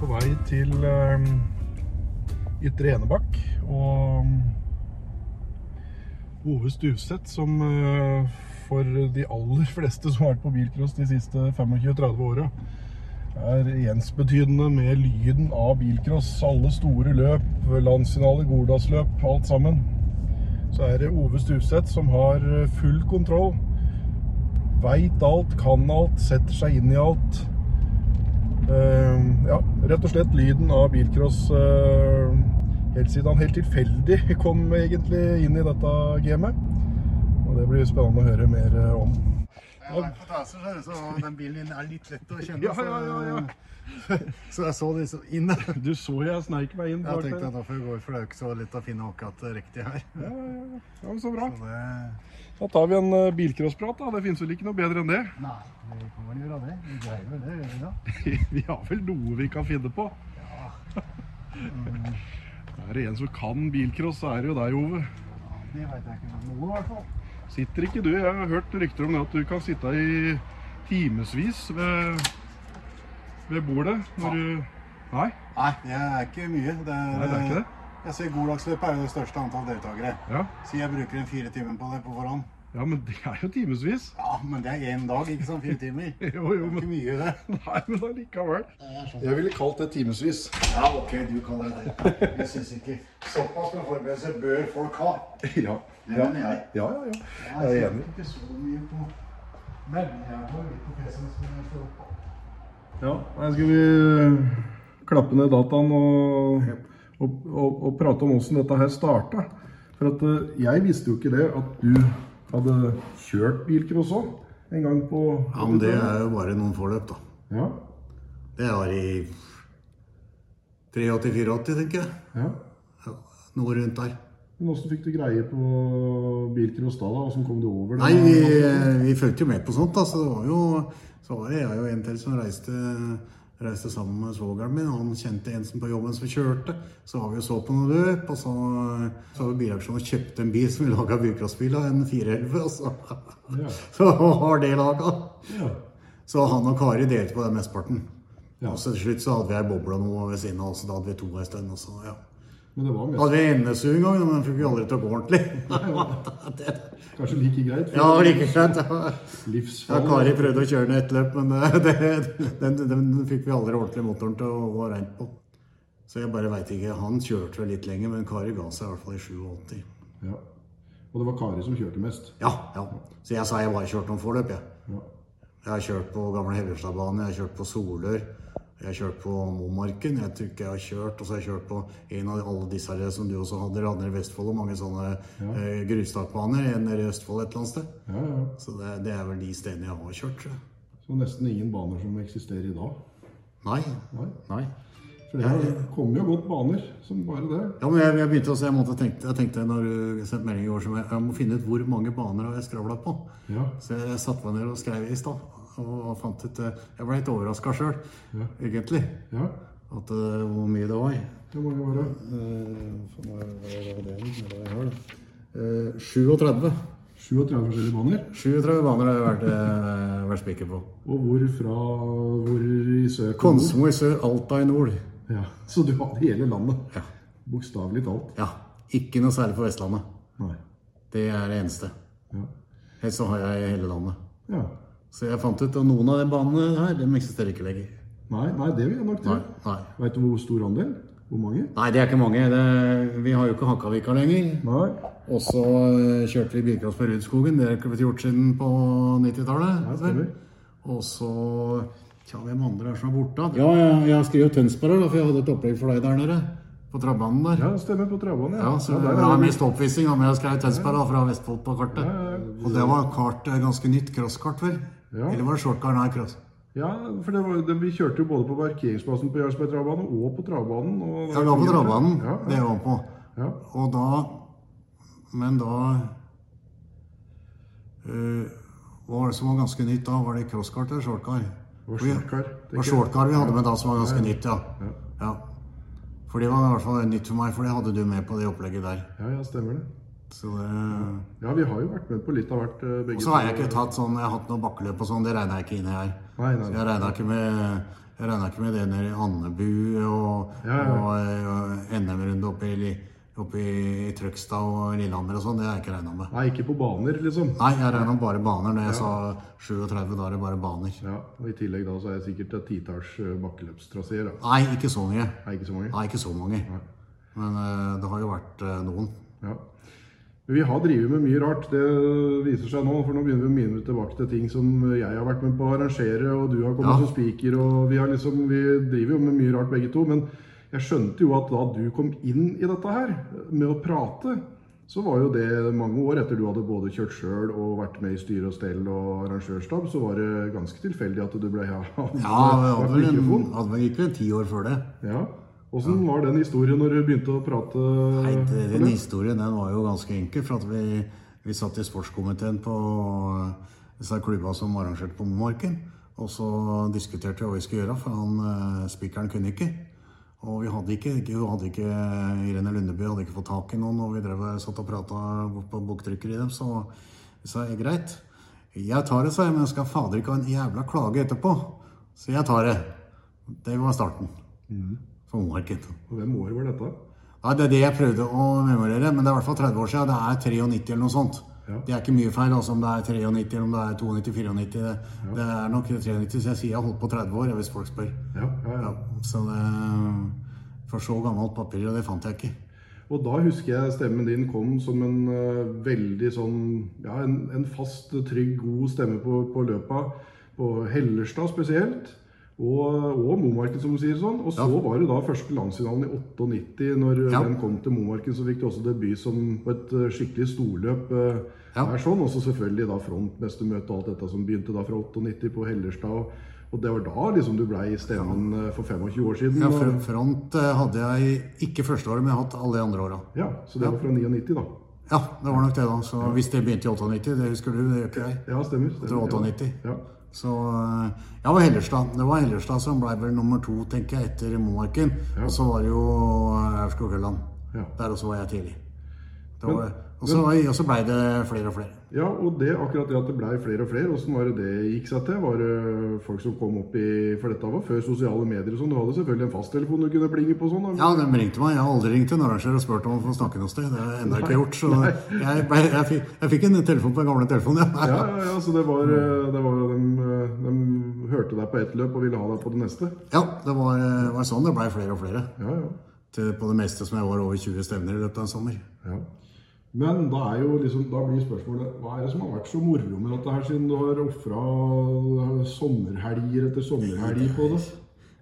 på vei til um, Ytre Enebakk og um, Ove Stuvseth, som eh, for de aller fleste som har vært på bilcross de siste 25-30 åra, er ensbetydende med lyden av bilcross. Alle store løp, landsfinale, Gordalsløp, alt sammen. Så er det Ove Stuvseth som har eh, full kontroll. Veit alt, kan alt, setter seg inn i alt. Eh, ja, rett og slett lyden av bilcross eh, helt siden han helt tilfeldig kom egentlig inn i dette gamet. Og det blir spennende å høre mer eh, om. Jeg har vært på Taser, så er det så den bilen din er litt lett å kjenne. altså. Ja, ja, ja, ja. Så, så jeg så liksom inn. Jeg Altså, Du så jeg sneik meg inn. bak tenkte der. at da får vi gå, for det er jo ikke så lett å finne akkurat riktig her. Ja, ja, ja. ja, men så bra. Så det... Da tar vi en eh, bilcrossprat, da. Det finnes vel ikke noe bedre enn det. Nei, vi kan vel gjøre det. Vi greier vel det, gjør vi da? Vi har vel noe vi kan finne på. Er det en som kan bilcross, så er det jo deg, Ove. Det vet jeg ikke noe, i hvert fall. Sitter ikke du? Jeg har hørt rykter om det at du kan sitte i timevis ved, ved bordet når du Nei, Nei, det er ikke mye. Det er, nei, det er ikke det? Jeg ser Goddagsløpet er jo det største antall deltakere. Ja. Så jeg bruker en fire timer på det på forhånd. ja, men det er jo timevis. Ja, men det er én dag, ikke sant? Fire timer. Det Jo, jo, er men ikke mye, det. Nei, men allikevel. Jeg skjønner. Jeg ville kalt det timevis. Ja, OK, du kaller det det. Jeg syns ikke Såpass med forberedelse bør folk ha. Ja. Det Ja, mener jeg. ja, ja. ja. Jeg er enig. ikke så mye på Nevner jeg på litt på PC-en som jeg slår opp på. Ja, nei, skal vi klappe ned dataen og, og, og, og prate om åssen dette her starta? For at eh, jeg visste jo ikke det at du hadde kjørt bilcross òg en gang på Ja, men det er jo bare noen forløp, da. Ja, Det var i 83-84, tenker jeg. ja. Ja, Noe rundt der. Men åssen fikk du greie på bilcross da? da? Åssen kom du over det? Nei, vi, vi fulgte jo med på sånt, da. Så det var jo Så var det jeg og en til som reiste Reiste sammen med svogeren min. Han kjente en som på jobben som kjørte. Så var vi og så på noen løp, og så, så var vi bilaksjon og kjøpte en bil som vi laga bilcrossbil av, en 411. Og så, Ja. så var det laga. Ja. Så han og Kari delte på den mesteparten. Ja. Og så til slutt så hadde vi ei boble og noe ved siden av, så da hadde vi to ei stund. Og så, ja. Men det var mest Hadde vi NSU en gang, men den fikk vi aldri til å gå ordentlig. det, kanskje like greit. for ja, like greit. ja. Ja, Livsfall. Kari prøvde å kjøre den i ett løp, men eh, det, den, den, den fikk vi aldri ordentlig motoren til å gå rent på. Så jeg bare veit ikke. Han kjørte vel litt lenger, men Kari ga seg i hvert fall i 87. Ja. Og det var Kari som kjørte mest. Ja, ja. Så jeg sa jeg bare kjørte noen forløp, jeg. Ja. Jeg har kjørt på gamle Hellestadbanen, jeg har kjørt på Solør, jeg har kjørt på Momarken. Jeg tror ikke jeg har kjørt, og så har jeg kjørt på en av alle disse her som du også hadde, eller andre i Vestfold, og mange sånne eh, grustakbaner, en nede i Østfold et eller annet sted. Ja, ja. Så det, det er vel de stedene jeg har kjørt, tror jeg. Så nesten ingen baner som eksisterer i dag. Nei. Nei. Nei. For det har- kommer jo godt baner, som bare det. Ja, men jeg, jeg begynte også, jeg, måtte tenke, jeg tenkte når du sendte melding i går, så jeg, jeg må finne ut hvor mange baner har jeg skravla på. Ja. Så jeg satte meg ned og skrev i stad, og fant ut eh, Jeg ble litt overraska sjøl, egentlig, ja. at eh, hvor mye det var. Det må jo være Eh, hva er det Hva er det jeg har, da? Eh, 37. 37 forskjellige baner. 37 baner har jeg vært, eh, vært spiker på. Og hvor fra hvor i sør til nord. Konsmo i sør, Alta i nord. Ja. Så du har hele landet. Bokstavelig talt. Ja. Ikke noe særlig på Vestlandet. Nei. Det er det eneste. Ja. Ellers så har jeg hele landet. ja. Så jeg fant ut at noen av de banene her, de eksisterer ikke lenger. Nei, nei, det vil jeg nok Nei, til. nei. Veit du hvor stor andel? Hvor mange? nei det er ikke mange. Det, vi har jo ikke Hakkavika lenger. Nei. Og så eh, kjørte vi bilcross på Rudskogen. Det har ikke blitt gjort siden på 90-tallet. Ja, stemmer. Og så Tja, hvem andre er som er borte? Ja, jeg, jeg skrev jo Tønsberg, da, for jeg hadde et opplegg for deg der nede. På trappebanen der. Ja, Ja, stemmer på travbanen. Ja. så der Det er er det- mest oppvisning, da, men jeg skrev Tønsberg da, fra Vestfold på kartet. Og det var kart, eh, ganske nytt crosskart, vel? Ja. Eller var det shortkart? Nei, cross. ja, for det var, det, vi kjørte jo både på parkeringsplassen på Jarlsberg travbane og på travbanen. og- Ja, vi var på travbanen. Ja, Det var på. ja. Og da Men da eh, Hva var det som var ganske nytt da? Var det crosskart eller shortcar? var For vi- shortcar, Det var tenker jeg. shortcar vi hadde med da som var ganske nytt, ja. ja. For det var i hvert fall nytt for meg, for det hadde du med på det opplegget der. ja, ja, stemmer det. Så det... Ja, vi har jo vært med på litt av hvert, eh, begge Så har jeg ikke tatt sånn, jeg har hatt noen bakkeløp og sånn, det regner jeg ikke inn i her. Nei, Så nei. jeg regna ikke med jeg regna ikke med det nede i Andebu og, Ja, ja. og, eh, NM-runde oppe i, Li- oppe i Trøgstad og Lillehammer og sånn. Det har jeg ikke regna med. nei, ikke på baner, liksom. Nei, jeg regna bare baner. Når jeg sa 37, da er det bare baner. Ja, og I tillegg da så er jeg sikkert et titalls eh, bakkeløpstraseer. da. Nei, ikke så mye. Nei, ikke så mange. Nei, ikke så mange. Men eh, det har jo vært eh, noen. Ja. Men Vi har drevet med mye rart, det viser seg nå. For nå begynner vi å minne tilbake til ting som jeg har vært med på å arrangere, og du har kommet Ja. som speaker, og vi, har liksom, vi driver jo med mye rart begge to. Men jeg skjønte jo at da du kom inn i dette her, med å prate, så var jo det mange år etter du hadde både kjørt sjøl og vært med i styre og stell og arrangørstab, så var det ganske tilfeldig at du ble ja, Ja, vi hadde vel en- hadde vel ikke ti år før det. Ja. Åssen var den historien når du begynte å prate? Nei, det- Eh, den historien den var jo ganske enkel, for at vi, vi satt i sportskomiteen på eh, disse klubba som arrangerte på Momarken. Og så diskuterte vi hva vi skulle gjøre, for han eh, spikeren kunne ikke. Og vi hadde ikke, ikke- hun hadde ikke Irene Lundeby hadde ikke fått tak i noen, og vi drev, og satt og prata på boktrykkeriet dem, så vi sa greit. Jeg tar det, sa jeg, men jeg skal fader ikke ha en jævla klage etterpå. Så jeg tar det. Det var starten. På Momarken. Hvem år var dette? Nei, Det er det jeg prøvde å memorere, men det er i hvert fall 30 år siden. Det er 93 eller noe sånt. Ja. Det er ikke mye feil altså, om det er 93 eller om det er 92, 94. Det, det er nok 93, så jeg sier jeg har holdt på 30 år, hvis folk spør. Ja, ja, ja. Ja, så det For så gammelt papir, og det fant jeg ikke. Og da husker jeg stemmen din kom som en eh, veldig sånn Ja, en, en fast, trygg, god stemme på, på løpa. På Hellerstad spesielt. Og, og Momarken, som du sier sånn. Og så Ja. var det da første landsfinalen i 98. Når Ja. den kom til Momarken, så fikk du også debut som på et eh, skikkelig storløp. eh, Ja. der sånn, Og så selvfølgelig da frontmestermøtet og alt dette som begynte da fra 98 på Hellerstad. Og, og det var da liksom du blei stemmen eh, for 25 år siden. Ja, og- fr- front eh, hadde jeg ikke første året, men jeg har hatt alle de andre åra. ja, Så det var fra 99, da. Ja, det var nok det, da. Så hvis det begynte i 98, det husker du, det gjør ikke jeg. Ja, stemmer. Det var stemmer 98. Ja. ja. Så eh, ja, det var Hellerstad. Det var Hellerstad som ble vel nummer to, tenker jeg, etter Momarken. Ja. Og så var det jo Aurskog-Høland. Ja. Der også var jeg tidlig. Det Men- var, og så var- og så ble det flere og flere. Ja, og det, akkurat det at det blei flere og flere, åssen var det det gikk seg til? Var det folk som kom opp i For dette var før sosiale medier og sånn. Du hadde selvfølgelig en fasttelefon du kunne plinge på og sånn. da. Ja, de ringte meg. Jeg har aldri ringt en arrangør og spurt om å få snakke noe sted. Det har jeg ennå ikke gjort. Så jeg, ble, jeg, fikk, jeg fikk en telefon på den gamle telefonen, ja. Ja, ja, ja, så det var, eh, det var de, eh, de hørte deg på ett løp og ville ha deg på det neste. Ja, det var, eh, var sånn det ble flere og flere. Ja, ja. Til, på det meste som jeg var over 20 stevner i løpet av en sommer. ja. Men da, er jo liksom, da blir spørsmålet hva er det som har vært så moro med dette her, siden du har ofra sommerhelger etter sommerhelg på det?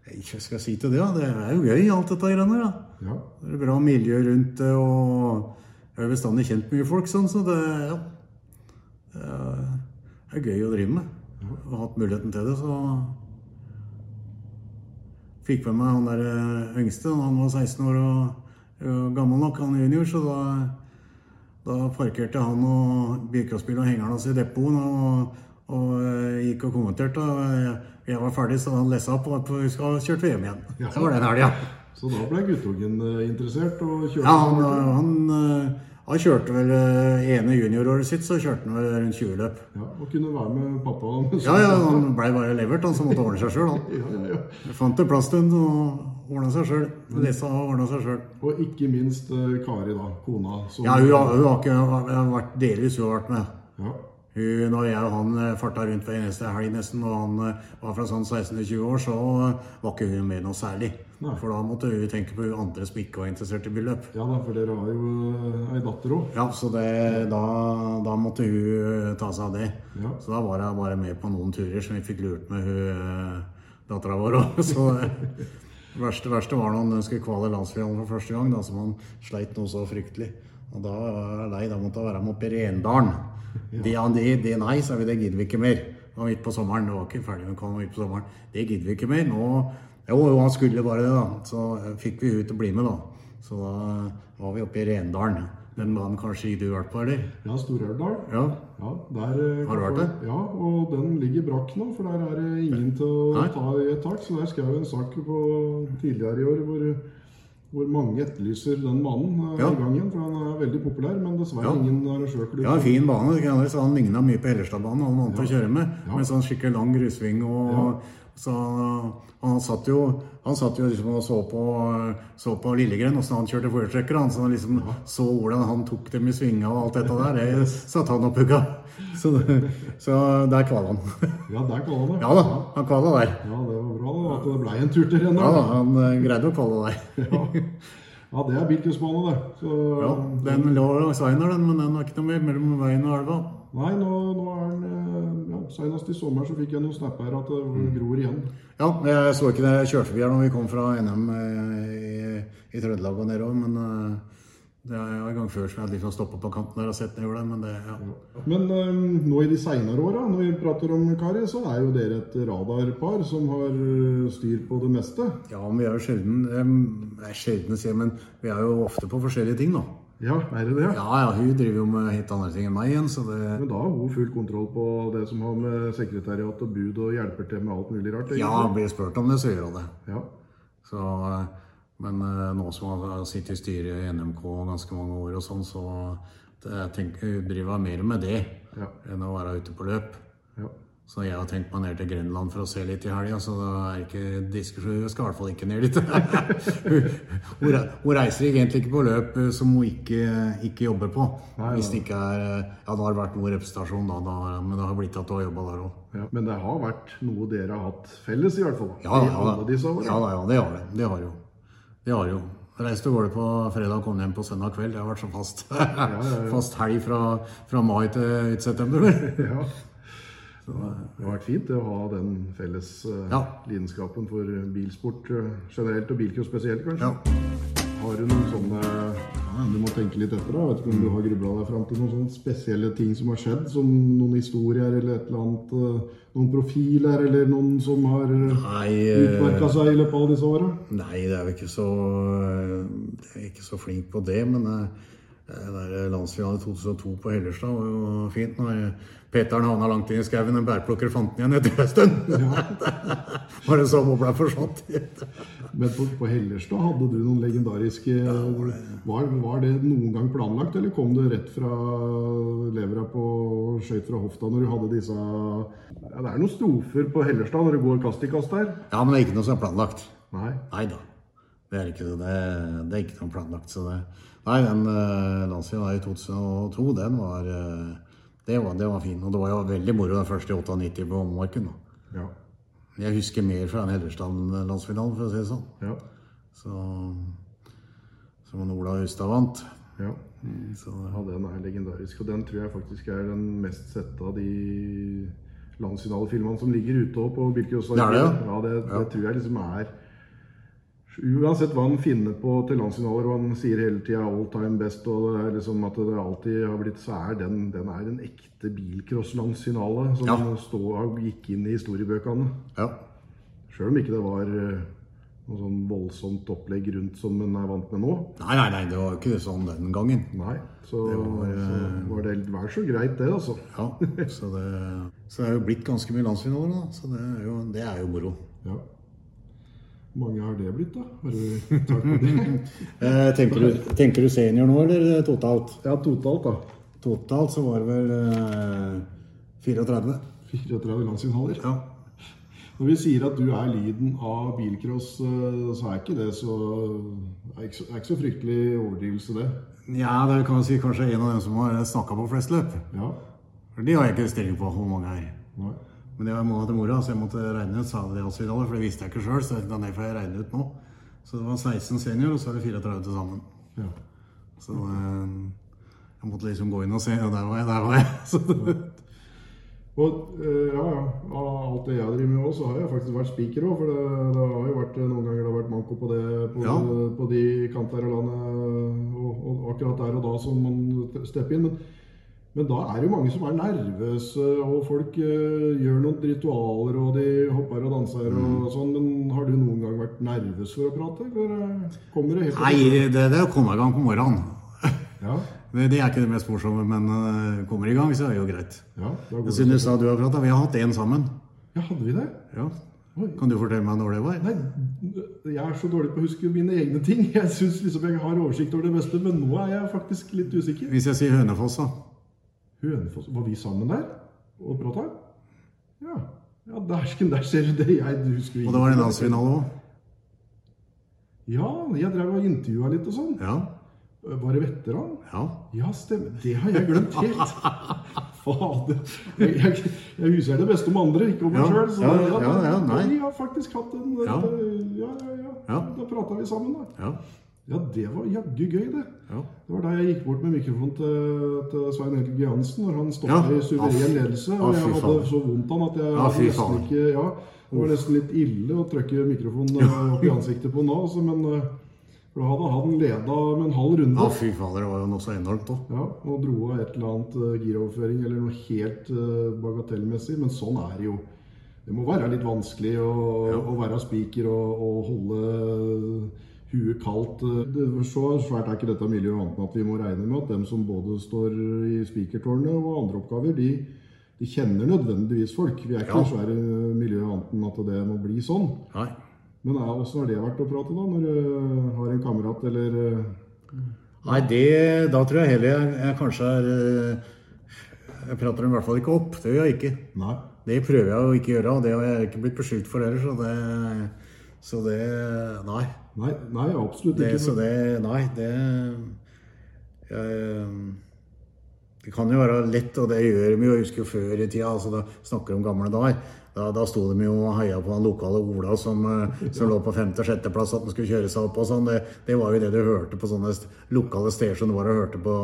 Jeg skal jeg si til det, ja. Det er jo gøy, alt dette greiene der. Ja. Ja, Det er bra miljø rundt det, og jeg har bestandig kjent mye folk, sånn, så det, ja, det er gøy å drive med. Og hatt muligheten til det, så fikk med meg han der eh, yngste. Han var 16 år og, og gammel nok, han junior, så da, da parkerte han og bilcrossbilen og hengeren hans i depoten og, og eh, gikk og kommenterte. Og jeg, jeg var ferdig, så han lessa opp og var på- og kjørte VM igjen. Ja. Det var den helga. Så da ble guttungen eh, interessert og kjørte? Ja, han, han, eh, han kjørte vel eh, ene junioråret sitt, så kjørte han vel rundt 20 løp. Ja, og kunne være med pappa. Ja, ja, han blei bare levert, han som måtte ordne seg sjøl, han. Ja, ja, ja. Fant en plass til han og ordna seg sjøl. Lesa og ordna seg sjøl. Og ikke minst eh, Kari, da. Kona. Som, Ja, hun, har- hun har ikke hun har vært delvis hun har vært med. Ja. Hun og jeg og han eh, farta rundt hver eneste helg nesten, og han eh, var fra sånn 16 til 20 år, så eh, var ikke hun med noe særlig. Nei. For da måtte hun tenke på hun andre som ikke var interessert i billøp. ja da, for dere har jo eh, ei datter òg. Ja, så det, da, da måtte hun eh, ta seg av det. Ja. Så da var jeg bare med på noen turer som vi fikk lurt med hun dattera vår òg. Så det verste, verste var når hun skulle kvale landsfinalen for første gang, da, som han sleit noe så fryktelig. Og da var jeg lei, da måtte jeg være med opp i Rendalen. Det, han- det, det nei, sa vi, det gidder vi ikke mer. Det var midt på sommeren, det var ikke ferdig med kvalen midt på sommeren. Det gidder vi ikke mer. Nå Jo, jo, han skulle bare det, da. Så eh, fikk vi hun til å bli med, da. Så da eh, var vi oppe i Rendalen. Den banen kanskje du har vært på, eller? Ja, Stor-Elvdal. Ja. Ja, der, eh, Har du vært der? Ja, og den ligger brakk nå, for der er det ingen til å Nei. ta i et tak. Så der skrev jeg en sak på tidligere i år hvor hvor mange etterlyser den banen eh, Ja. i gang igjen. For han er veldig populær, men dessverre Ja. ingen arrangørklubb. Ja, en fin bane. ikke sant? Så Han ligna mye på Hellestadbanen. Han vant til å kjøre med. Ja. Med sånn skikkelig lang grusving. Og, Så han satt jo, han satt jo liksom og så på, så på Lillegren, åssen han kjørte foretrekker. Han, så han liksom så hvordan han tok dem i svinga og alt dette der. Det satt han og pugga. Så, så der kvala han. Ja, der kaller han det. Ja da, han kvala der. Ja, det var bra da, at det ble en tur til rennet. Ja da, han eh, greide å kvala der. Ja. ja, det er Birkensbane, det. Så, Ja, den lå langs veien der, den, men den var ikke noe mer mellom veien og elva. Nei, nå, nå er den eh, ja, Senest i sommer så fikk jeg noen snapper her at det Mm. gror igjen. Ja, jeg så ikke det. Jeg kjørte forbi her når vi kom fra NM i, i Trøndelag og nedover, men eh, det er jo en gang før som jeg liksom stoppa på kanten der og sett nedover der, men det ja. Men eh, nå i de seinere åra, når vi prater om Kari, så er jo dere et radarpar som har eh, styr på det meste. Ja, men vi er jo sjelden em, Det er sjelden å si, men vi er jo ofte på forskjellige ting, da. Ja, er det det? Ja, ja, hun driver jo med helt andre ting enn meg igjen, så det Men da har hun full kontroll på det som har med sekretariat og bud og hjelper til med alt mulig rart. Ja, egentlig. blir jeg spurt om det, så gjør hun det. ja. Så, eh, men eh, nå som jeg har sittet i styret i NMK ganske mange år og sånn, så det, jeg tenker hun driver mer med det Ja. enn å være ute på løp. ja. Så jeg har tenkt meg ned til Grønland for å se litt i helga, så da er ikke diskusjon. Jeg skal i hvert fall ikke ned dit. Hun- hun, re- hun reiser egentlig ikke på løp eh, som hun ikke, ikke jobber på. Nei, Hvis det ikke er eh, Ja, da har det vært noe representasjon, da, da, men det har blitt at hun har jobba der òg. Ja, men det har vært noe dere har hatt felles, i hvert fall. Ja, da, I ja, alle da. disse årene. ja, da, ja, det har det. Det har jo. Det har jo. Reiste og gårde på fredag og kom hjem på søndag kveld. Det har vært sånn fast, fast helg fra, fra mai til ut september. Ja. Det har vært fint det å ha den felles eh, Ja. lidenskapen for bilsport eh, generelt, og bilcross spesielt, kanskje. Ja. Har du noen sånne ja, Du må tenke litt etter. da. Jeg vet ikke om du har grubla deg fram til noen sånne spesielle ting som har skjedd? Som noen historier eller et eller annet eh, Noen profiler eller noen som har Nei, eh, utmerka seg i løpet av alle disse åra? Nei, det er jo ikke så eh, Jeg er ikke så flink på det, men eh, det der landsfinalen i 2002 på Hellerstad var jo fint. Når Peteren havna langt inn i skauen, en bærplukker fant den igjen etter en stund. Var det sånn hun ble forsvant? Men på, på Hellerstad hadde du noen legendariske var, var det noen gang planlagt, eller kom det rett fra levra på skøyt fra hofta når du hadde disse ja, Det er noen strofer på Hellerstad når du går kast i kast der. Ja, men det er ikke noe som er planlagt. Nei. Nei da. Det er ikke, det, det er ikke noe planlagt. Så det. Nei, den eh, landsfinalen i 2002, den var, eh, det var Det var fin. Og det var jo veldig moro den første i 98 på Holmarken. da. Ja. Jeg husker mer fra den Hellerstad-landsfinalen, for å si det sånn. Ja. Så Som han Ola Hustad vant. ja. Så, Ja, den er legendarisk. Og den tror jeg faktisk er den mest sette av de landsfinalefilmene som ligger ute også på Bilkjøs. Det er det, ja. ja, det, det tror jeg liksom er Uansett hva han finner på til landsfinaler, og han sier hele tida 'all time best', og det er liksom at det alltid har blitt så er den, den er en ekte bilcrosslandsfinale som Ja. stå, gikk inn i historiebøkene. ja. Sjøl om ikke det var eh, noe sånn voldsomt opplegg rundt som en er vant med nå. Nei, nei, nei, det var jo ikke det sånn den gangen. Nei, så det var, eh, så var det vær så greit, det, altså. Ja, så, det, så det er jo blitt ganske mye landsfinaler, da. Så det er jo, det er jo moro. Ja. Hvor mange har det blitt, da? Har du tall på det? Eh, tenker, du, tenker du senior nå, eller eh, totalt? Ja, totalt, da. Totalt så var det vel eh, 34. 34 landsfinaler. Ja. Når vi sier at du er lyden av bilcross, eh, så er ikke det så Det er ikke så, det er ikke så fryktelig overdrivelse, det. ja, det er kan vi si kanskje en av dem som har snakka på flest løp. Ja. For de har jeg ikke stilling på hvor mange er. Nei. Men jeg må ha til mora, så jeg måtte regne ut salarialsvidaler, for det visste jeg ikke sjøl. Så da får jeg regne ut nå. Så det var 16 senior, og så er det 34 til sammen. Ja. Så eh, jeg måtte liksom gå inn og se, og der var jeg, der var jeg. Så det, Og eh, ja, ja. Av alt det jeg driver med òg, så har jeg faktisk vært spiker òg. For det, det har jo vært noen ganger det har vært manko på det på, Ja. på de kanter av landet og, og akkurat der og da som man stepper inn. Men, men da er det jo mange som er nervøse, og folk eh, gjør noen ritualer, og de hopper og danser Mm. og sånn. Men har du noen gang vært nervøs for å prate, eller eh, kommer det helt nei, det, det kommer i gang på morgenen. Ja, Det, det er ikke det mest morsomme, men eh, kommer i gang, så er det jo greit. ja, da går Jeg det. synes du sa du har prata. Vi har hatt én sammen. Ja, hadde vi det? Ja. Å, Oi. Kan du fortelle meg når det var? Nei, jeg er så dårlig på å huske mine egne ting. Jeg syns liksom jeg har oversikt over det meste, men nå er jeg faktisk litt usikker. Hvis jeg sier Hønefoss, da? Hønefoss Var vi sammen der og prata? Ja. ja Dæsken, der ser du det. Jeg husker Og det var en landsfinale òg? Ja, jeg drev og intervjua litt og sånn. Ja. Var det veteran? ja. Ja, stemmer. Det har jeg glemt helt. Fader. Jeg, jeg, jeg husker det beste om andre, ikke om meg Ja, sjøl. ja, ja, ja, nei. Vi har faktisk hatt en Ja, Ja. ja, ja. Ja. Da prata vi sammen, da. Ja. Ja, det var jaggu gøy, det. ja. Det var da jeg gikk bort med mikrofonen til, til Svein Helge Johansen, når han stoppa Ja. i Ah, suveren fy- ledelse. ah, Og jeg fy hadde faen. så vondt av han at jeg Ah, fy hadde nesten faen. ikke Ja, det var nesten litt ille å trykke mikrofonen eh, opp i ansiktet på han da, altså, men eh, for da hadde han leda med en halv runde. Å, fy fader, det var jo noe så enormt òg. Ja, og dro av et eller annet eh, giroverføring eller noe helt eh, bagatellmessig. Men sånn er det jo. Det må være litt vanskelig å, å være spiker og, og holde huet kaldt. eh. Det, så svært er ikke dette miljøet annet enn at vi må regne med at dem som både står i spikertårnet og andre oppgaver, de, de kjenner nødvendigvis folk. Vi er ikke Ja. noe svære eh, miljø annet enn at det må bli sånn. Nei. Men åssen har det vært å prate, da? Når du eh, har en kamerat eller eh, Nei, det Da tror jeg heller jeg, jeg kanskje er eh, Jeg prater dem i hvert fall ikke opp. Det gjør jeg ikke. Nei. Det prøver jeg å ikke gjøre, og det har jeg ikke blitt beskyldt for heller, så det Så det Nei. Nei, nei absolutt Det, ikke. så det Nei, det jeg, Det kan jo være lett, og det gjør de jo. Jeg husker jo før i tida, altså da snakker de om gamle dager. Da, da sto de jo og heia på han lokale Ola som, eh, som lå på femte- og sjetteplass, at han skulle kjøre seg opp og sånn. Det, det var jo det du hørte på sånne st- lokale steder som du var og hørte på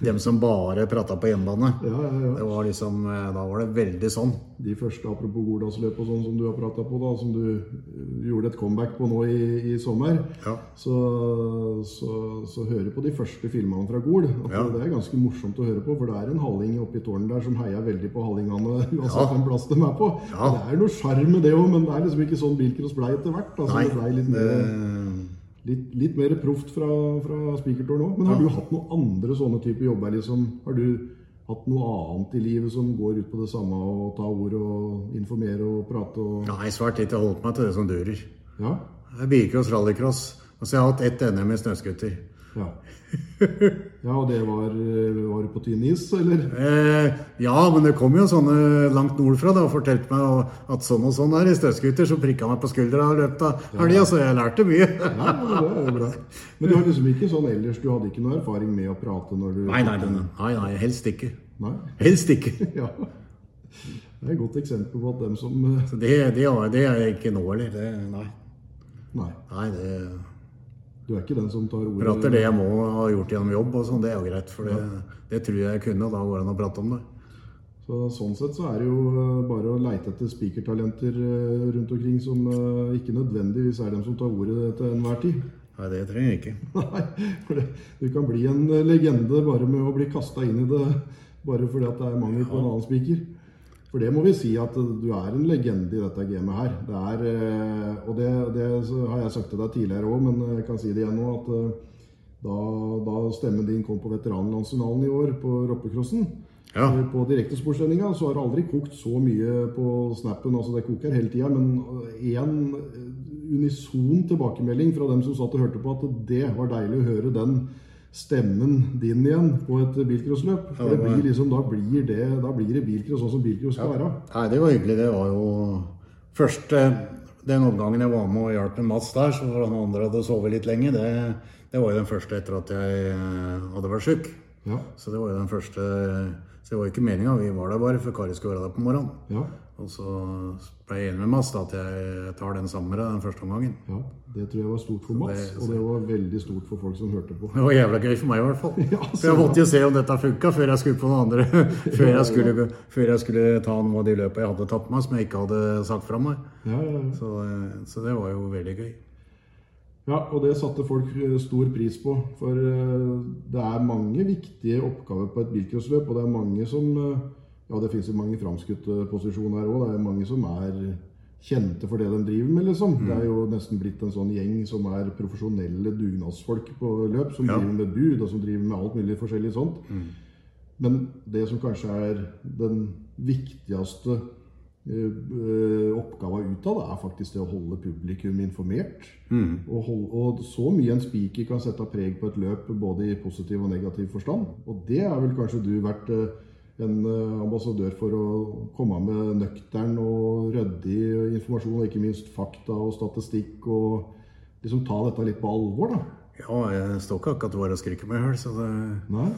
dem som bare prata på hjemmebane. Ja, ja, ja. Det var liksom, eh, Da var det veldig sånn. de første apropos Gordalsløpet og sånn som du har prata på, da, som du eh, gjorde et comeback på nå i, i sommer, Ja. så, så, så hører på de første filmene fra Gol. At Ja. Det er ganske morsomt å høre på, for det er en halling oppi tårnet der som heier veldig på hallingene uansett Ja. hvilken plass de er på. Ja. Det er jo noe sjarm med det òg, men det er liksom ikke sånn bilcross blei etter hvert. Altså, Nei, Eh, det blei litt mer, det- litt, litt mer proft fra, fra spikertårnet òg. Men har du hatt noen andre sånne typer jobber? Liksom? Har du hatt noe annet i livet som går ut på det samme å ta ord og informere og prate og Nei, svært lite. Jeg har holdt meg til det som durer. Ja. Det er Bilcross, rallycross. Og så har jeg hatt ett NM i snøscooter. Ja, ja og det var, var på tynn is, eller? Eh, ja, men det kom jo sånne langt nordfra da, og fortalte meg at sånn og sånn er i snøscooter. Så prikka meg på skuldra og løp av helga, så altså, jeg lærte mye. Ja, men det er jo bra. Men du har liksom ikke sånn ellers? Du hadde ikke noe erfaring med å prate når du Nei, nei, nei, nei, nei helst ikke. Nei? Helst ikke. Ja. Det er et godt eksempel på at dem som eh, Så det, det, har- det er jeg ikke nå heller. Det, nei. Nei, nei, det du er ikke den som tar ordet Prater det jeg må ha gjort gjennom jobb og sånn, det er jo greit. For det, det tror jeg jeg kunne, og da går det an å prate om det. Så Sånn sett så er det jo eh, bare å leite etter spikertalenter eh, rundt omkring som eh, ikke nødvendigvis er dem som tar ordet til enhver tid. Nei, det trenger jeg ikke. Nei, for det, Du kan bli en eh, legende bare med å bli kasta inn i det bare fordi at det er mangel på en annen spiker. For det må vi si at eh, du er en legende i dette gamet her. Det er, eh, og det, det så har jeg sagt til deg tidligere òg, men eh, jeg kan si det igjen nå, at eh, da, da stemmen din kom på veteranlandsfinalen i år på roppecrossen Ja. på direktesportsendinga så har det aldri kokt så mye på snappen. altså Det koker hele tida, men én unison tilbakemelding fra dem som satt og hørte på, at det var deilig å høre den stemmen din igjen på et bilcrossløp. Ja, For det det var- blir liksom, da, blir det, da blir det bilcross sånn som bilcross skal være. Nei, det var hyggelig. Det var jo Først eh, den omgangen jeg var med og hjalp med Mats der, så han andre hadde sovet litt lenge, det, det var jo den første etter at jeg eh, hadde vært sjuk. Ja, Så det var jo den første Så det var jo ikke meninga. Vi var der bare for Kari skulle være der på morgenen. ja, Og så ble jeg enig med Mats da at jeg tar den sammen med deg den første omgangen. ja. Det tror jeg var stort for Mats, og det var veldig stort for folk som hørte på. Det var jævla gøy for meg i hvert fall. Ja, for jeg måtte jo se om dette funka før jeg skulle på noen andre. før, jeg skulle, før jeg skulle ta noe av de løpa jeg hadde tatt meg, som jeg ikke hadde sagt fra meg. Ja, ja, ja. Så, eh, så det var jo veldig gøy. Ja, og det satte folk eh, stor pris på. For eh, det er mange viktige oppgaver på et bilcrossløp, og det er mange som eh, Ja, det fins jo mange framskutte posisjoner her òg. Det er mange som er kjente for det de driver med, liksom. Mm. Det er jo nesten blitt en sånn gjeng som er profesjonelle dugnadsfolk på løp, som Ja. Mm. driver med bud, og som driver med alt mulig forskjellig sånt. Men det som kanskje er den viktigste eh, oppgava utad er faktisk det å holde publikum informert. Mm. Og, hold, og så mye en spiker kan sette preg på et løp, både i positiv og negativ forstand. Og det er vel kanskje du vært eh, en eh, ambassadør for å komme med nøktern og ryddig informasjon, og ikke minst fakta og statistikk, og liksom ta dette litt på alvor, da. Ja, jeg står ikke akkurat bare og skriker meg i hjel, så det Nei?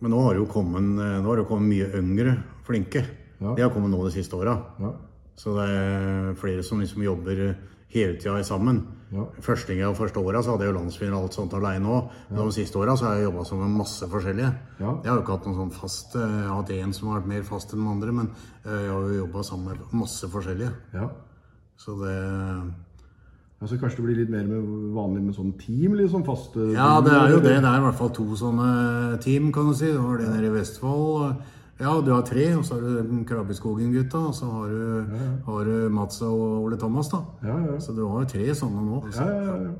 Men nå har det jo kommet, eh, nå har det jo kommet mye yngre flinke. Ja. De har kommet nå de siste åra. Ja. Så det er flere som liksom jobber hele tida sammen. Ja. Første gang jeg første åra så hadde jeg jo landsfinale og alt sånt alene òg. Men de siste åra så har jeg jobba sammen med masse forskjellige. Ja. Jeg har jo ikke hatt noen sånn fast eh, Jeg har hatt én som har vært mer fast enn den andre, men eh, jeg har jo jobba sammen med masse forskjellige. ja. Så det Altså, kanskje det blir litt mer med, vanlig med sånn team, liksom? Faste Ja, det er jo det. Det er i hvert fall to sånne team, kan du si. Du har det nede i Vestfold. Ja, du har tre, og så har du Krabbeskogen-gutta. Og så har du, har du Mats og Ole Thomas, da. Ja, ja. Så du har jo tre sånne nå. Ja, ja, ja.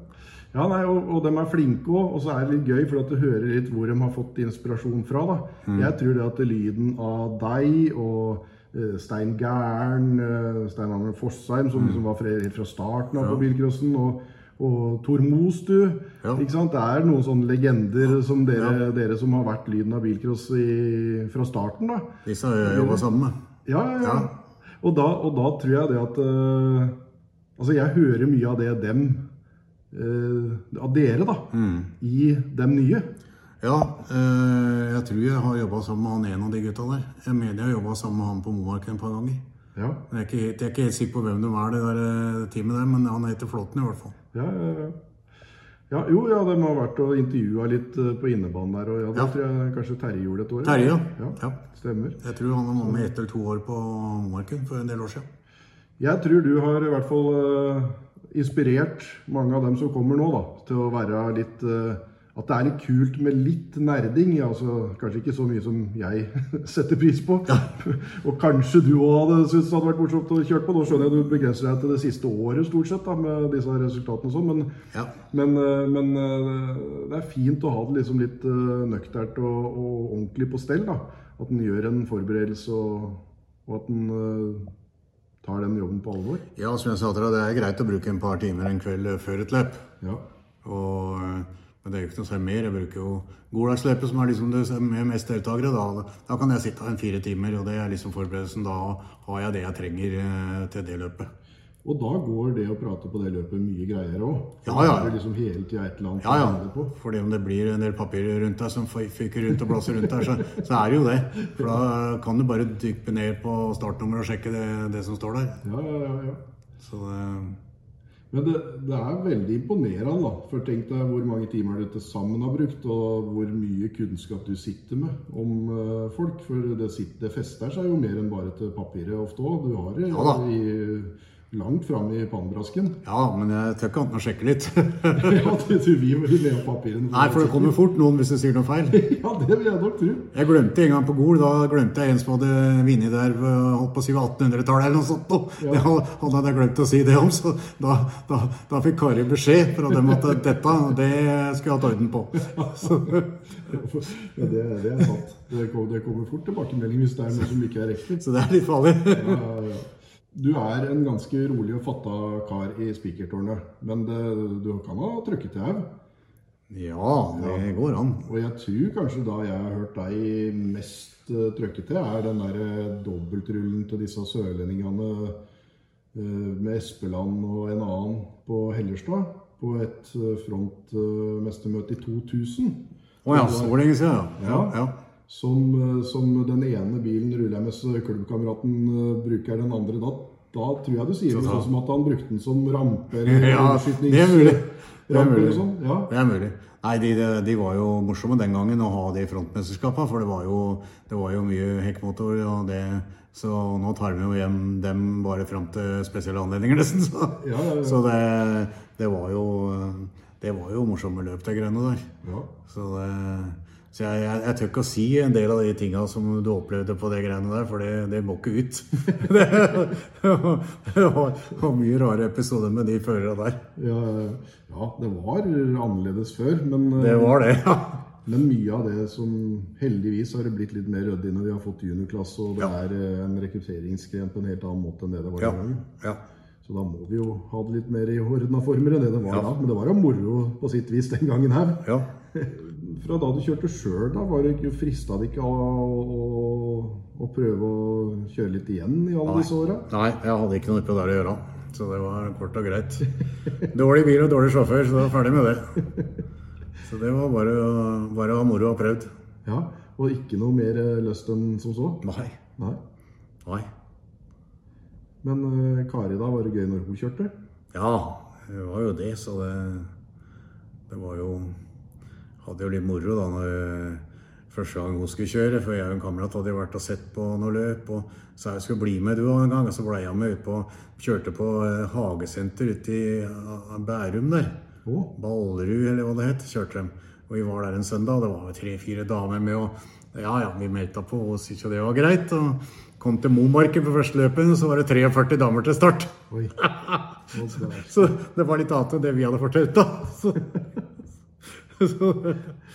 ja nei, og, og de er flinke òg. Og så er det litt gøy, for at du hører litt hvor de har fått inspirasjon fra. da. Jeg tror det at lyden av deg og eh, Stein Gæren, eh, Stein Arne Fossheim, som, som var fra, helt fra starten av på bilcrossen, og, og Tor Mostu Ja. ikke sant? Det er noen sånne legender som dere, dere som har vært lyden av bilcross i, fra starten. da. Disse har jeg jobba sammen med. Ja, ja, ja. Og, da, og da tror jeg det at eh, Altså, jeg hører mye av det dem eh, Av dere, da. I dem nye. Ja, eh, jeg tror jeg har jobba sammen med han ene av de gutta der. Jeg mener jeg har jobba sammen med han på Momarken et par ganger. Ja, Jeg er, ikke helt, jeg er ikke helt sikker på hvem de er, det der eh, teamet der, men han heter Flåten i hvert fall. ja, ja, ja. ja jo, ja, de har vært og intervjua litt eh, på innebanen der. Og ja, da Ja. tror jeg kanskje Terje gjorde det et år. Terje, ja. ja. ja. Stemmer. Jeg tror han var med ett eller to år på Momarken for en del år siden. Jeg tror du har i hvert fall eh, inspirert mange av dem som kommer nå, da, til å være litt eh, At det er litt kult med litt nerding. ja, altså Kanskje ikke så mye som jeg setter pris på. og kanskje du òg hadde syntes det hadde vært morsomt å kjøre på. Nå skjønner jeg du begrenser deg til det siste året stort sett da, med disse her resultatene og sånn, men, Ja. men, eh, men eh, det er fint å ha det liksom litt eh, nøkternt og, og ordentlig på stell. da, At en gjør en forberedelse, og, og at en eh, tar den jobben på alvor. Ja, som jeg sa til deg, det er greit å bruke en par timer en kveld eh, før et løp. Ja. Og, eh, men det er jo ikke noe særlig mer. Jeg bruker jo Goldagsløpet, som er liksom det som er mest deltakere. Da, da kan jeg sitte en fire timer, og det er liksom forberedelsen. Da har jeg det jeg trenger eh, til det løpet. Og da går det å prate på det løpet mye greiere òg. Ja, ja. Det er liksom hele tiden et eller annet Ja, å ja. handle på. Fordi om det blir en del papirer rundt deg som fy- fyker rundt og blåser rundt der, så, så er det jo det. For da kan du bare dyppe ned på startnummeret og sjekke det, det som står der. Ja, ja, ja, ja. Så eh, det Men det, det er veldig imponerende, da. For tenk deg hvor mange timer du til sammen har brukt, og hvor mye kunnskap du sitter med om eh, folk. For det, sitter, det fester seg jo mer enn bare til papiret ofte òg. Du har det Ja da. i, langt fram i pannebrasken. Ja, men jeg tør ikke annet enn å sjekke litt. ja, du, du vil vel ned på papirene. Nei, for det kommer fort noen hvis du sier noe feil. Ja, det vil jeg nok tro. Jeg glemte en gang på Gol, da glemte jeg en som hadde vunnet der øh, holdt på å si ved 1800-tallet eller noe sånt. nå. Det had- hadde jeg glemt å si det om, så da, da, da fikk Kari beskjed fra dem at dette det skulle jeg hatt orden på. Så, Ja, det, det er sant. Det kommer, det kommer fort tilbakemelding hvis det er noe som ikke er riktig. så det er litt farlig. Ja, ja, ja. Eh, Du er en ganske rolig og fatta kar i spikertårnet, men det, du kan ha trøkket i haug. Ja, det går an. Og jeg tror kanskje da jeg har hørt deg mest uh, trøkke til, er den der eh, dobbeltrullen til disse sørlendingene eh, med Espeland og en annen på Hellerstad. På et eh, frontmestermøte i 2000. Å ja, så lenge siden, ja. Ja. ja. Som, eh, som den ene bilen ruller jeg mens klubbkameraten eh, bruker den andre. Da, da tror jeg du sier noe da- sånn som at han brukte den som eh, rampe eller Ja, skytnings- det er mulig. Det er rampe eller mulig. sånn. Ja. Det er mulig. Nei, de, de- de var jo morsomme den gangen å ha det i frontmesterskapet, for det var jo, det var jo mye hekkmotor. og det... Så nå tar vi jo hjem dem bare fram til spesielle anledninger, nesten. Så, Ja, ja, ja. så det, det var jo Det var jo morsomme løp, de greiene der. Ja. Så, det, så jeg, jeg, jeg tør ikke å si en del av de tinga som du opplevde på de greiene der, for det, det må ikke ut. det, var, var mye rare episoder med de førerne der. Ja, ja, det var annerledes før, men eh, Det var det, ja. Men mye av det som heldigvis har det blitt litt mer ryddig når vi har fått juniorklasse, og det Ja. er eh, en rekrutteringsgren på en helt annen måte enn det det var Ja. den gangen. ja. Så da må vi jo ha det litt mer i ordna former enn det det var Ja. da. Men det var jo moro på sitt vis den gangen her. ja. Fra da du kjørte sjøl, da var det ikke frista det ikke å, å, å prøve å kjøre litt igjen i alle Nei. disse åra? Nei, jeg hadde ikke noe på det å gjøre. Så det var kort og greit. Dårlig bil og dårlig sjåfør, så da var jeg ferdig med det. Så det var bare, å- bare å ha moro og prøvd. Ja. Og ikke noe mer eh, lyst enn som så? Nei. Nei. Nei. Men eh, Kari, da var det gøy når hun kjørte? Ja, det var jo det, så det, det var jo Hadde jo litt moro da når første gang hun skulle kjøre, for jeg og en kamerat hadde jo vært og sett på noe løp. og sa jeg skulle bli med du også en gang, og så ble jeg med ut på, kjørte på eh, hagesenter ute i eh, Bærum der. Å, Ballerud, eller hva det het, kjørte dem. Og vi var der en søndag, det var tre-fire damer med, og ja, ja, vi meldte på og syntes jo det var greit. Og kom til Momarken på første løpet, og så var det 43 damer til start. oi. Å, der. Så det var litt annet enn det vi hadde fortalt, da. Så, så,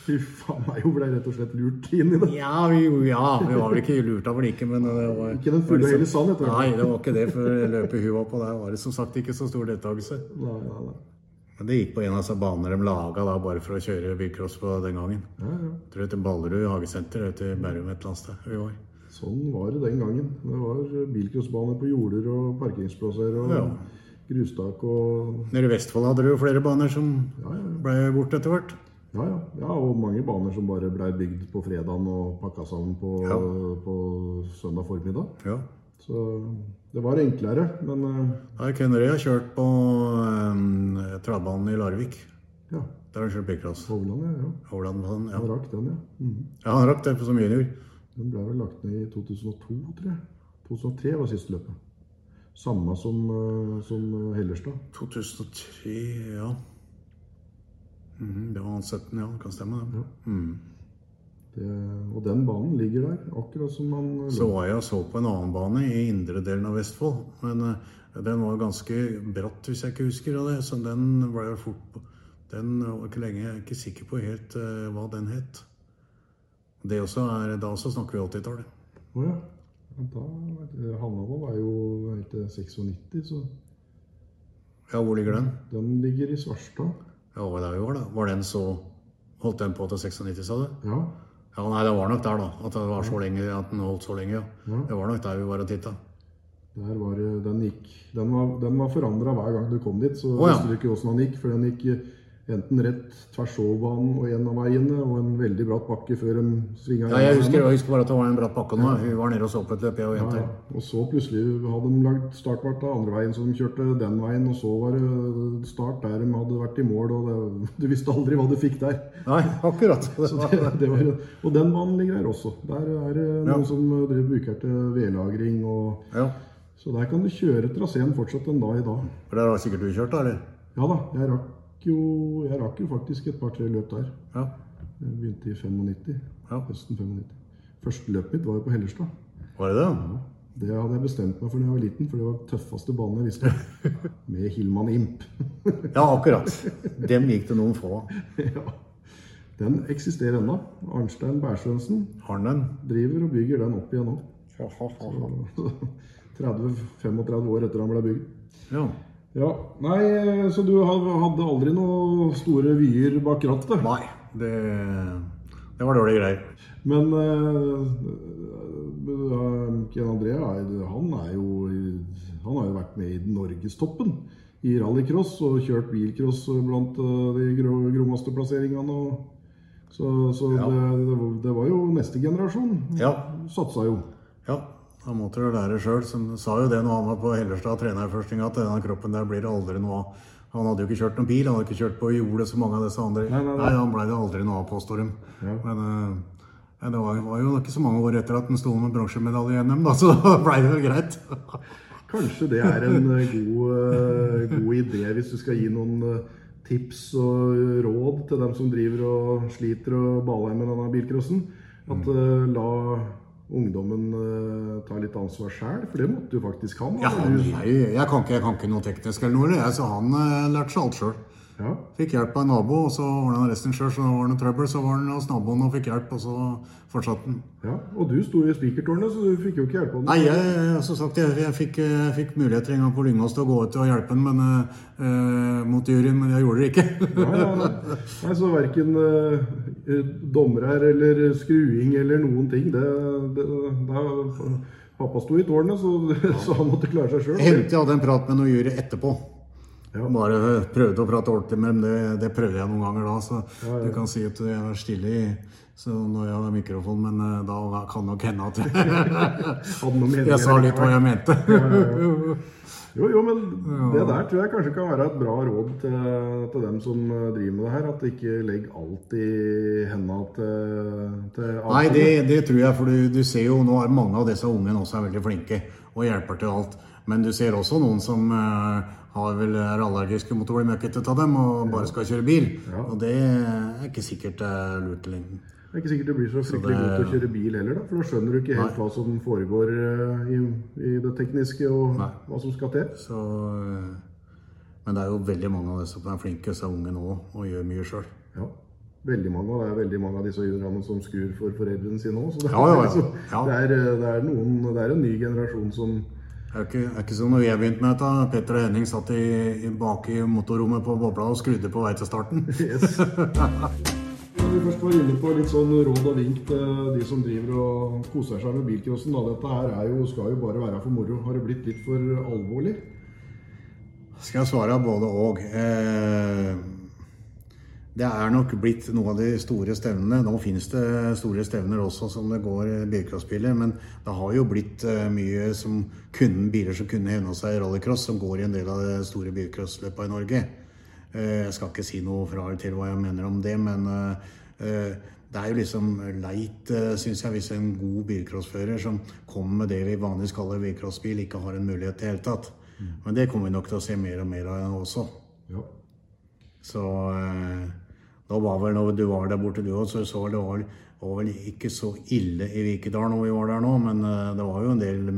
Fy faen meg, hun ble rett og slett lurt inn i det. ja, vi, ja, vi var vel ikke lurt av like, men det var liksom- Ikke den fulle og hele sannhet. Nei, Nei. det var ikke det, for løpet hun var på der, var det som sagt ikke så stor deltakelse. Nei, nei, nei. Men det gikk på en av disse baner de laga da, bare for å kjøre bilcross på den gangen. Ja, ja. Jeg tror det heter Ballerud hagesenter ute i Bærum et eller annet sted. Vi var. Sånn var det den gangen. Det var bilcrossbane på jorder og parkeringsplasser og Ja. grustak og Nede i Vestfold hadde du jo flere baner som ja, ja. ble borte etter hvert. Ja, ja. ja, og mange baner som bare blei bygd på fredagen og pakka sammen på, Ja. på søndag formiddag. Ja. Så det var enklere, men eh, Da kunne jeg kjørt på um, travbanen i Larvik. ja. Der har jeg kjørt bilcross. Hovland, ja. ja. Hovland, sånn, ja. Han rakk den, ja. Mhm. ja. Han rakk det som junior. Den ble vel lagt ned i 2002, tror jeg. 2003 var siste løpet. Samme som, eh, som Hellerstad. 2003, ja. Mhm, det var han 17, ja. Kan stemme, det. Mhm. Det, og den banen ligger der, akkurat som man eh, Så var jeg og så på en annen bane i indre delen av Vestfold. Men eh, den var ganske bratt, hvis jeg ikke husker av det. Så den ble jo fort på. Den eh, var ikke lenge, jeg er ikke sikker på helt eh, hva den het. Det også er, Da også snakker vi 80-tallet. Å ja. Ja, Da, Hanavold er jo helt til 96, så Ja, hvor ligger den? den ligger i Svarstad. Ja, det var der vi var, da. Var den så Holdt den på til 96, sa du? Ja. Ja, nei, det var nok der, da. At det var så lenge, at den holdt så lenge. ja. Ja. Det var nok der vi var og titta. Der var det, den gikk Den var, den var forandra hver gang du kom dit, så Å ja. visste du ikke åssen den gikk. For den gikk eh, enten rett tvers over banen og en av veiene, og en veldig bratt bakke før den svinga Ja, jeg husker, jeg husker bare at det var en bratt bakke nå. Vi var nede og så på et løp, jeg og Ja, jenta. og så plutselig hadde de lagd startvart av andre veien, så de kjørte den veien. Og så var det start der de hadde vært i mål, og det, du visste aldri hva du fikk der. Nei, akkurat. Det Så var, det, det var, og den banen ligger her også. Der er det noen som driver bruker til vedlagring. Og, ja. så der kan du kjøre traseen fortsatt en dag i dag. For der har sikkert du kjørt, da? eller? Ja da, jeg rakk jo, jeg rakk jo faktisk et par-tre løp der. Ja. Jeg begynte i 95. Ja. Høsten 95. Første løpet mitt var jo på Hellerstad. Var det det? Det hadde jeg bestemt meg for da jeg var liten, for det var den tøffeste banen jeg visste om. Med Hillman Imp. Ja, akkurat. Dem gikk det noen få av. ja. Den eksisterer ennå. Arnstein Bærsønsen Har den den? driver og bygger den opp igjen nå. Ja. 30-35 år etter han ble bygd. Ja, nei, Så du hadde hadde aldri noen store vyer bak rattet? Nei, det, det var dårlige greier. Men uh, Ken André er- han er jo Han har jo vært med i norgestoppen i rallycross og kjørt bilcross blant eh, de gro- grommeste plasseringene. Og, så så Ja. det, det, var, det var jo neste generasjon. Ja. Satsa jo. ja. Da måtte du lære sjøl. Han sa jo det når han var på Hellerstad og trena i første gang, at denne kroppen der blir det aldri noe av. Han hadde jo ikke kjørt noen bil, han hadde ikke kjørt på jordet som mange av disse andre. Nei, nei, nei. han blei det aldri noe av, påstår de. Ja. Men eh, nei, det var, var jo ikke så mange år etter at han sto med bronsemedalje i NM, da, så da blei det vel greit. Kanskje det er en eh, god, eh, god idé hvis du skal gi noen eh, tips og eh, råd til dem som driver og sliter og baler med denne bilcrossen. At Mm. eh, la ungdommen eh, ta litt ansvar sjøl, for det måtte du faktisk han. Ja, altså, han, du- jeg, jeg, kan ikke, jeg kan ikke noe teknisk eller noe, eller jeg, så han eh, lærte seg alt sjøl. Ja. Fikk hjelp av en nabo, og så ordna han resten sjøl. Så da var det noe trøbbel, så var han hos naboen og fikk hjelp, og så fortsatte han. ja. Og du sto i spikertårnet, så du fikk jo ikke hjelpe ham. Nei, jeg, jeg- som sagt, jeg, jeg, fikk, eh, jeg fikk muligheter en gang på Lyngås til å gå ut og hjelpe ham men, eh, eh, mot juryen, men jeg gjorde det ikke. Nei, nei, nei. nei, så verken uh, domrer eller skruing eller noen ting det, det, da, Pappa sto i tårnet, så, så han måtte klare seg sjøl. Hendte jeg hadde en prat med noen jury etterpå. Ja. Bare eh, prøvde å prate ordentlig med dem, det, det prøvde jeg noen ganger da. Så du kan si at jeg er stille i, så når jeg har mikrofon, men eh, da kan nok hende at jeg, Hadde noen meninger. jeg sa litt hva jeg mente. Jo, jo, men det der tror jeg kanskje kan være et bra råd til, til dem som eh, driver med det her. At ikke legg alt i henda til, til Nei, avkommet. det, det tror jeg, for du, du ser jo nå er mange av disse ungene også er veldig flinke og hjelper til alt. Men du ser også noen som eh, har vel, er allergiske mot å bli møkkete av dem og bare skal kjøre bil. Ja. Og det er ikke sikkert det er lurt i lengden. Det er ikke sikkert du blir så fryktelig det- god til å kjøre bil heller, da. For da skjønner du ikke helt hva som foregår eh, i, i det tekniske, og hva som skal til. Så, eh, men det er jo veldig mange av disse som er flinke, disse ungene òg, og gjør mye sjøl. Ja. Veldig mange, og det er veldig mange av disse juniorene som skrur for foreldrene sine òg. Så det, Ja, ja, ja. er liksom- Ja. Det, er, eh, det, er noen, det er en ny generasjon som Det er ikke, det er ikke som når jeg begynte med dette. Petter og Henning satt i, i bak i motorrommet på bobla og skrudde på vei til starten. Yes. Når vi først var inne på litt sånn råd og vink til de som driver og koser seg med bilcrossen, da dette her er jo, skal jo bare være for moro. Har det blitt litt for alvorlig? Skal jeg svare både og. Eh, det er nok blitt noe av de store stevnene. Nå finnes det store stevner også som det går eh, bilcrossbiler, men det har jo blitt eh, mye som kunne, biler som kunne hevna seg i rallycross, som går i en del av de store bilcrossløpa i Norge. Eh, jeg skal ikke si noe fra eller til hva jeg mener om det, men eh, eh, det er jo liksom leit, syns jeg, hvis en god bilcrossfører som kommer med det vi vanligvis kaller bilcrossbil, ikke har en mulighet i det hele tatt. Men det kommer vi nok til å se mer og mer av også. Ja. Så eh, da var vel når du var der borte du òg, så så vel det var, var vel ikke så ille i Vikedal når vi var der nå, men eh, det var jo en del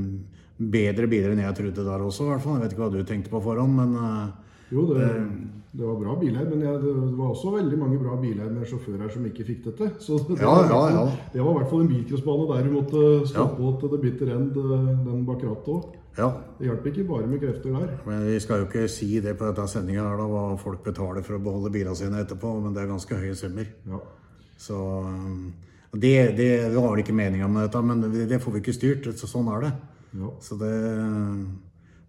bedre biler enn jeg trodde der også, i hvert fall. Jeg vet ikke hva du tenkte på forhånd, men eh, Jo, det, det var bra biler, men jeg, det var også veldig mange bra biler med sjåfører som ikke fikk det til. Så det, Ja, var, i ja, hvert fall- ja. det var i hvert fall en bilcrossbane der du måtte stå Ja. på til det bitter end, eh, den bak rattet òg. ja. Det hjalp ikke bare med krefter der. Men vi skal jo ikke si det på dette sendinga her, da, hva folk betaler for å beholde bilene sine etterpå, men det er ganske høye summer. Ja. Så um, det, det, det var vel ikke meninga med dette, men det, det får vi ikke styrt. Så sånn er det. Ja. Så det,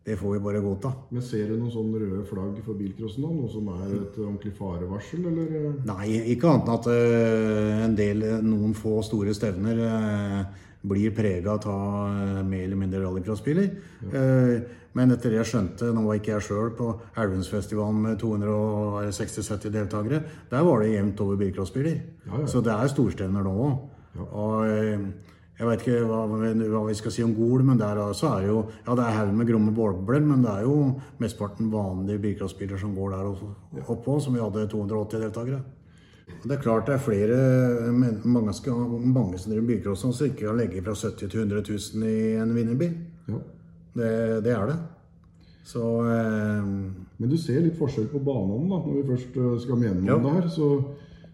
det får vi bare godta. Men ser du noen sånne røde flagg for bilcrossen nå? Noe som er et ordentlig farevarsel, eller? eh? Nei, ikke annet enn at øh, en del, noen få store stevner øh, blir prega av øh, mer eller mindre rallycrossbiler. Eh, men etter det jeg skjønte, nå var ikke jeg sjøl på Elvumsfestivalen med 260-70 eh, deltakere, der var det jevnt over bilcrossbiler. Ja, ja. Så det er storstevner nå òg. Og eh, jeg vet ikke hva, hva vi skal si om Gol, men der også er jo Ja, det er haug med gromme bålbler, men det er jo mesteparten vanlige bilcrossbiler som går der også- oppå, som vi hadde 280 deltakere. Og Det er klart det er flere, men mange, skal, mange som driver bilcross som ikke kan legge fra 70 000 til 100 000 i en vinnerbil. Ja. Det, det er det. Så eh, Men du ser litt forskjell på banene, da, når vi først eh, skal mene noe Ja. om det her. så...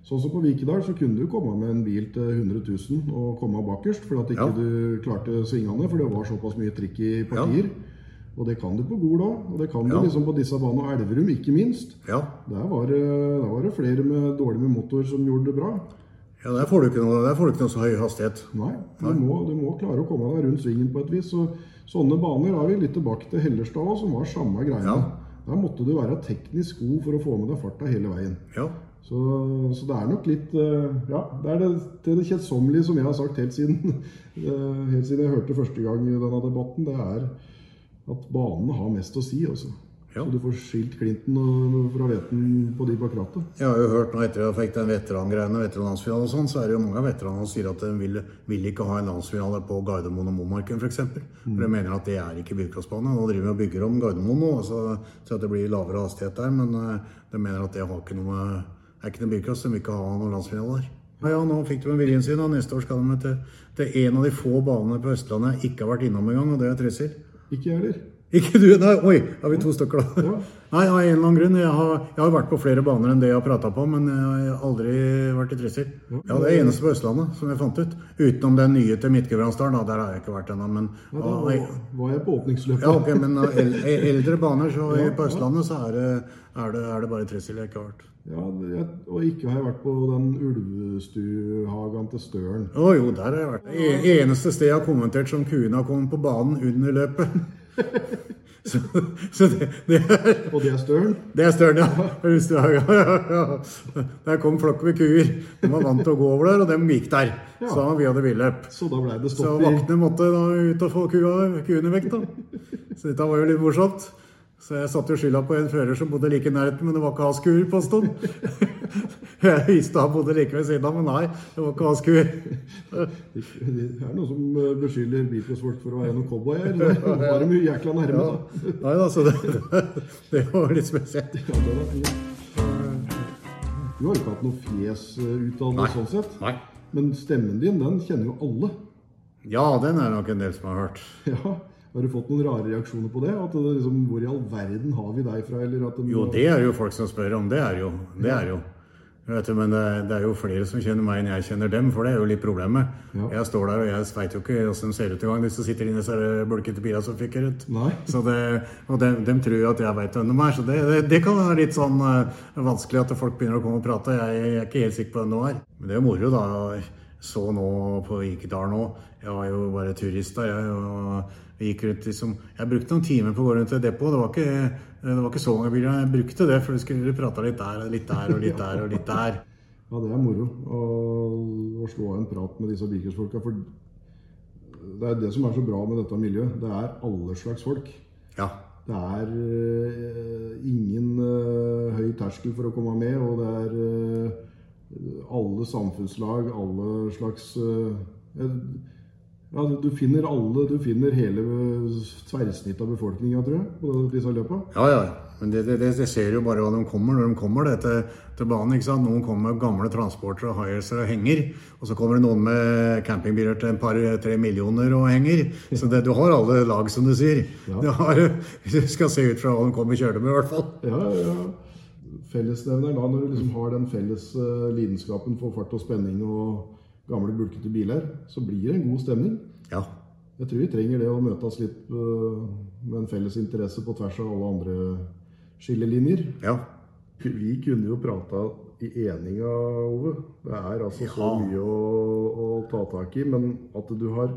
Sånn som på Vikedal så kunne du komme med en bil til 100 000 og komme bakerst, fordi at ikke Ja. du klarte svingene, for det var såpass mye trikk i partier. Og det kan du på Gol òg, og det kan du Ja. liksom på disse banene. og Elverum, ikke minst. ja. Der var, det- der var det flere med dårlig med motor som gjorde det bra. ja der, får du ikke noe, der får du ikke noe så høy hastighet. Nei, du, Må, du må klare å komme deg rundt svingen på et vis. Så, sånne baner er vi litt tilbake til Hellerstad òg, som var samme greia. Ja. Der måtte du være teknisk god for å få med deg farta hele veien. Ja. Så, så det er nok litt eh, Ja, det er det, det, er det kjedsommelige som jeg har sagt helt siden, eh, helt siden jeg hørte første gang i denne debatten, det er at banene har mest å si, altså. Ja. Så du får skilt klinten og- fra hveten på de bak rattet. Jeg har jo hørt nå etter at jeg fikk den veterangreiene, veteranlandsfinalen og sånn, så er det jo mange av veteranene som sier at de vil, vil ikke ha en landsfinale på Gardermoen og Momarken f.eks. For, for de mener at det er ikke bilcrossbane. Nå driver vi og bygger om Gardermoen nå, så, så at det blir lavere hastighet der, men eh, de mener at det har ikke noe med det er ikke noe bilcross, de vil ikke ha noen landsfinale der. Ja, ja, nå fikk de viljen sin, og neste år skal de til, til en av de få banene på Østlandet jeg ikke har vært innom engang, og det er Trysil. Ikke jeg heller. Ikke du? Nei, oi, da er vi to stykker, da. Ja. Nei, av en eller annen grunn. Jeg har, jeg har vært på flere baner enn det jeg har prata på, men jeg har aldri vært i Trysil. Ja, det er eneste på Østlandet som jeg fant ut. Utenom den nye til Midt-Gudbrandsdalen, da. Der har jeg ikke vært ennå, men Ja, da av- var jeg på åpningsløpet. Ah, ja, ok, men av el e- eldre baner så i- på Østlandet så er det, er det, er det bare Trysil jeg ikke har vært. Ja, jeg, og ikke har jeg vært på den ulvestuhagen til Støren. Å jo, der har jeg vært. Det eneste stedet jeg har kommentert som kuene har kommet på banen under løpet. Så, så det, det, er, Og det er Støren? det er større, ja. Hvis du har- ja, ja, ja. Der kom flokker med kuer. De var vant til å gå over der, og dem gikk der. Så da vi hadde villøp. Så da ble det Så stopp i vaktene måtte da ut og få kua, kuene vekk, da. Så dette var jo litt morsomt. Så jeg satte jo skylda på en fører som bodde like i nærheten, men det var ikke hans kuer, påsto han. Jeg visste han bodde like ved siden av, men nei, det var ikke hans kuer. Det er noen som eh, beskylder bilcrossfolk for å være noen cowboyer. Det var de jo jækla nærme, da. Nei da, så det, det var litt spesielt. Ja, det var fint. Du har jo ikke hatt noe fjes eh, utad sånn sett. Nei. Men stemmen din, den kjenner jo alle. Ja, den er det nok en del som har hørt. Ja. Har du fått noen rare reaksjoner på det? At det liksom, Hvor i all verden har vi deg fra? Eller at den- Jo, det er jo folk som spør om. Det er jo. Det er jo. Vet du, men det, det er jo flere som kjenner meg enn jeg kjenner dem, for det er jo litt problemet. Ja. Jeg står der, og jeg veit jo ikke åssen de ser ut engang, de som sitter inni disse bulkete bira som fyker rundt. Nei. Så det, og de, dem tror jo at jeg veit hvem de er, så det, det, det kan være litt sånn eh, vanskelig at folk begynner å komme og prate. Jeg, jeg er ikke helt sikker på hvem de er. Men det er jo moro, da. Jeg så nå på Vikedal nå. Jeg var jo bare turist da, jeg. og vi gikk rundt liksom, Jeg brukte noen timer på å gå rundt et depot. Det var ikke, det var ikke så mange biler. Jeg brukte det, for vi skulle prate litt der og litt der og litt der og litt der. Ja, det er moro å, å slå av en prat med disse bikersfolka. For det er det som er så bra med dette miljøet. Det er alle slags folk. Ja. Det er eh, ingen eh, høy terskel for å komme med, og det er eh, alle samfunnslag, alle slags eh, ja, du, du finner alle, du finner hele eh, tverrsnittet av befolkninga, tror jeg, på disse løpa. Ja, ja. Men det, det, det, det skjer jo bare hva de kommer når de kommer det, til, til banen. ikke sant? Noen kommer med gamle transporter og hierser og henger. Og så kommer det noen med campingbiler til en par-tre millioner og henger. Så det, du har alle lag, som du sier. Ja. Du, har, du skal se ut fra hva de kommer kjørende med, i hvert fall. Ja, ja. Fellesnevneren da, når du liksom har den felles eh, lidenskapen for fart og spenning og gamle, bulkete biler, så blir det en god stemning. Ja. Jeg tror vi trenger det å møtes litt eh, med en felles interesse på tvers av alle andre skillelinjer. ja. Vi kunne jo prata i eninga, Ove. Det er altså så Ja. mye å, å ta tak i. Men at du har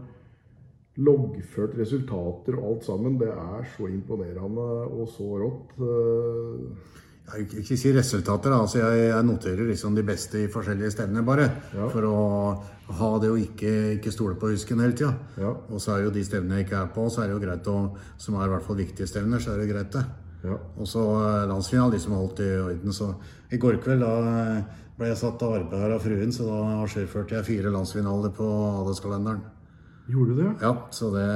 loggført resultater og alt sammen, det er så imponerende og så rått. eh. Jeg vil ikke si resultater, da. altså jeg, jeg noterer liksom de beste i forskjellige stevner, bare. Ja. For å ha det å ikke, ikke stole på husken hele tida. Ja. Og så er jo de stevnene jeg ikke er på, så er det jo greit å Som er i hvert fall viktige stevner, så er det greit, det. Ja. Og så eh, landsfinalen, de som har holdt i orden. Så i går kveld da eh, ble jeg satt til arbeid her av fruen, så da avskjedførte jeg fire landsfinaler på adelskalenderen. Gjorde du det? Ja, så det,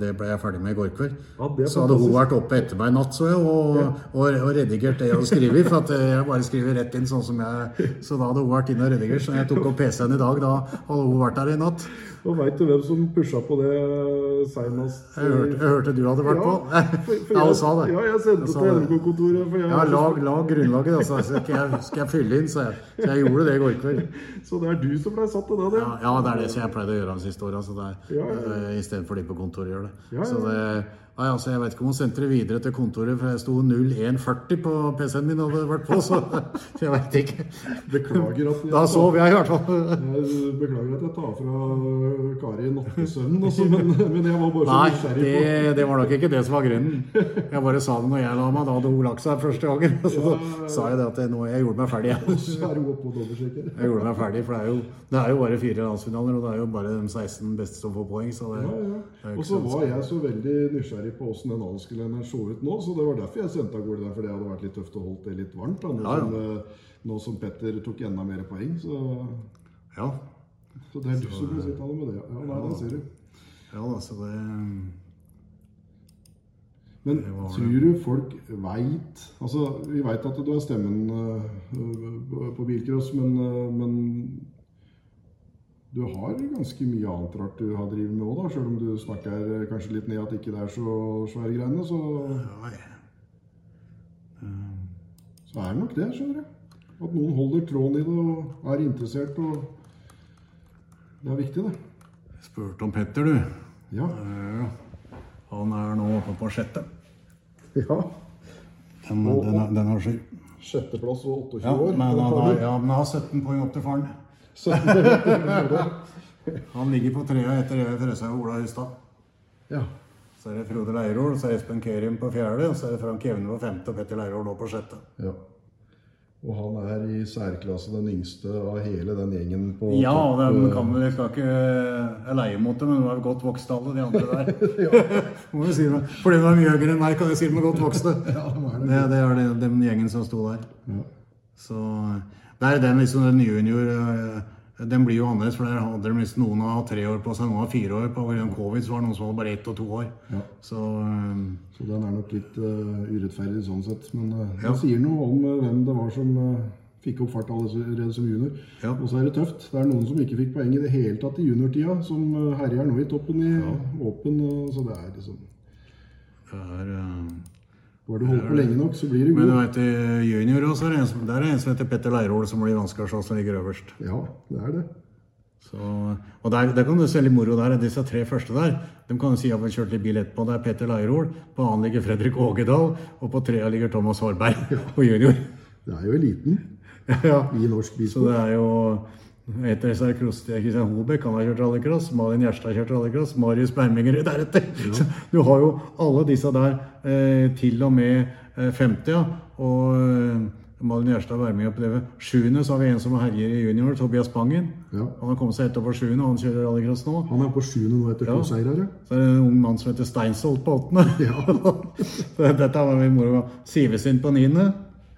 det ble jeg ferdig med i går kveld. Ja, det er så hadde hun fantastisk. vært oppe etter meg i natt, så jeg, og, og, og redigert det hun skriver. For at eh, jeg bare skriver rett inn sånn som jeg Så da hadde hun vært inne og redigert. Så når jeg tok opp PC-en i dag, da hadde hun vært der i natt. Og veit du hvem som pusha på det seinest? Jeg hørte, jeg hørte du hadde vært på. for Ja, jeg- hun sa det. Ja, jeg sendte Hun sa til det. NRK-kontoret. for jeg- Ja, lag, lag grunnlaget, altså. Så skal jeg, skal jeg fylle inn, sa jeg. Så jeg gjorde det i går kveld. Så det er du som ble satt til det? det. Ja, ja, det er det som jeg pleide å gjøre de siste åra. Ja, ja, ja. Istedenfor de på kontoret gjør det. Ja, ja. Så det nei, altså, jeg vet ikke om hun sendte det videre til kontoret, for jeg sto 0140 på PC-en min hadde vært på, så så jeg vet ikke. Beklager at jeg, Da sov jeg i hvert fall. jeg Beklager at jeg tar fra Kari nattesøvnen også, men, men jeg var bare så Nei, nysgjerrig det, på det var nok ikke det som var grunnen. Jeg bare sa det når jeg la meg. Da hadde hun lagt seg første gangen. og Så sa jeg det at jeg, nå, jeg gjorde meg ferdig. Jeg. Så er hun oppe og dobbeltsjekker. jeg gjorde meg ferdig, for det er jo, det er jo bare fire landsfinaler, og det er jo bare de 16 beste som får poeng. Så det, Ja, det er ja. jo Og ikke så så var jeg så veldig nysgjerrig på åssen den alderskalenderen så ut nå, så det var derfor jeg sendte av gårde der, for det hadde vært litt tøft å holde det litt varmt. Da, nå, Ja, ja. Som, eh, nå som Petter tok enda mer poeng, så, ja. så det er du som blir sittende med det. Ja, nei, det ser du. Ja da, så det Men Det var det. tror du folk veit Altså, vi veit at du har stemmen eh, på bilcross, men, eh, men eh, Du har ganske mye annet rart du har drevet med òg, da. Sjøl om du snakker eh, kanskje litt ned at ikke det er så svære greiene, så, Ja, jeg- Eh, så er det nok det, skjønner du. At noen holder tråden i det og er interessert og Det er viktig, det. Spurte om Petter, du. Ja. Eh, Han er nå oppe på sjette. ja. Den, eh, den, er- den er sju. Sjetteplass og 28 Ja, år. men han Da tar har, du. ja, men han har 17 poeng opp til faren. 17. Han ligger på trea etter Eva Frøshaug og Ola Hustad. ja. Så er det Frode Leirol, så er Espen Kerim på fjerde, og så er det Frank Jevne på femte og Petter Leirol nå på sjette. Ja. Og han er i særklasse den yngste av hele den gjengen på Ja, og topp, de eh, kan vel skal ikke eh, Jeg leier mot dem, men de er godt vokst alle de andre der. Må jo si det. Fordi de er mye høyere enn meg, kan jeg si de er godt vokste. Det, det er det, den gjengen som sto der. Så det er den liksom den nye junior eh, Den blir jo annerledes, for der hadde de liksom noen av tre år på seg, noen av fire år. På grunn av covid så var det noen som hadde bare ett og to år. Ja. Så eh, Så den er nok litt eh, urettferdig sånn sett. Men eh, den sier noe om eh, hvem det var som eh, fikk opp fart allerede som junior. Ja. Og så er det tøft. Det er noen som ikke fikk poeng i det hele tatt i juniortida, som eh, herjer nå i toppen i Åpen. eh, så det er liksom det er eh, Bare du holder på lenge nok, så blir du god. Men du vet, i junior også, er det en som- der er det en som heter Petter Leirol som blir vanskelig å slå, som ligger øverst. Ja, det er det. Så, og der, der kan du se litt moro der. Disse tre første der, de kan du si at vi kjørte litt bil etterpå. Det er Petter Leirol, på annen ligger Fredrik Ågedal, og på trea ligger Thomas Hårberg på junior. Det er jo eliten ja. i norsk Så bisport. det er jo etter disse er Krost- Christian Holbæk, han har kjørt rallycross. Malin Gjerstad har kjørt rallycross. Marius Bermingerud deretter. Så du har jo alle disse der, eh, til og med eh, 50, ja. Og eh, Malin Gjerstad Bermingerud på det. Sjuende så har vi en som herjer i junior, Tobias Bangen. Ja. Han har kommet seg etter på sjuende, og han kjører rallycross nå. Han er på sjuende nå etter to seirer. ja. Så er det en ung mann som heter Steinsholt på åttende. Så Dette var veldig moro. Sivesund på niende.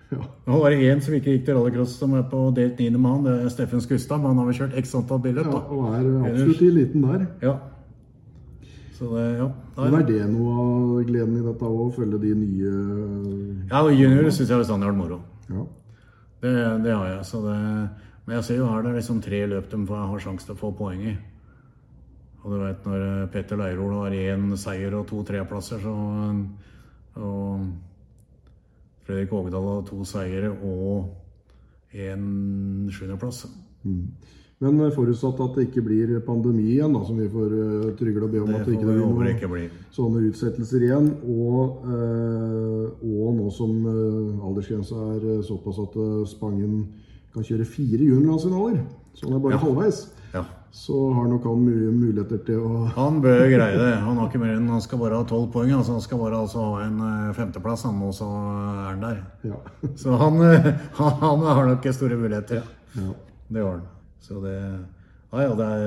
Ja. Nå var det én som ikke gikk til rallycross, som er på delt niende med han. Det er Steffen Skustad, men han har vel kjørt x antall billett, ja. da. Og er eh, absolutt i eliten der. Ja. Så det, ja. Nei. Men er det noe av gleden i dette òg, å følge de nye Ja, og junior syns jeg bestandig har vært moro. Ja. Det, det har jeg. Så det, men jeg ser jo her det er liksom tre løp de får- har sjanse til å få poeng i. Og du vet når eh, Petter Leirol har én seier og to tredjeplasser, så eh, Og Fredrik Ågedal har to seire og én sjuendeplass. Men eh, forutsatt at det ikke blir pandemi igjen, da, som vi får eh, trygle og be om Det at det får ikke vi blir håpe det noen ikke blir. sånne utsettelser igjen, og, eh, og nå som eh, aldersgrensa er eh, såpass at eh, Spangen kan kjøre fire juniorlandsfinaler, så han er bare halvveis, Ja. så har nok han mye muligheter til å Han bør greie det. Han har ikke mer enn han skal bare ha tolv poeng. Altså, han skal bare altså, ha en eh, femteplass, han, og så er han der. Ja. Så han, eh, han, han har nok store muligheter. Ja. ja. Det har den. Så det Ja, ja, det er,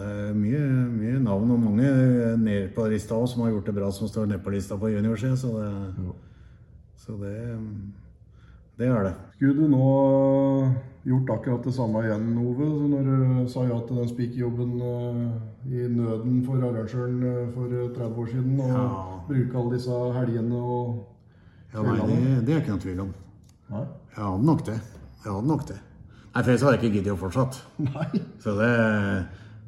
det er mye, mye navn og mange ned på lista også, som har gjort det bra, som står ned på lista på juniorsida, så det Så det Det er det. Skulle du nå eh, gjort akkurat det samme igjen, Ove, så når du sa ja til den spikerjobben eh, i nøden for arrangøren eh, for 30 år siden, og Ja. bruke alle disse helgene og Ja, nei, det, det er ikke noen tvil om. Nei. Jeg hadde nok det. Jeg hadde nok det. Nei, for ellers hadde jeg ikke giddet å fortsette. Nei. Så det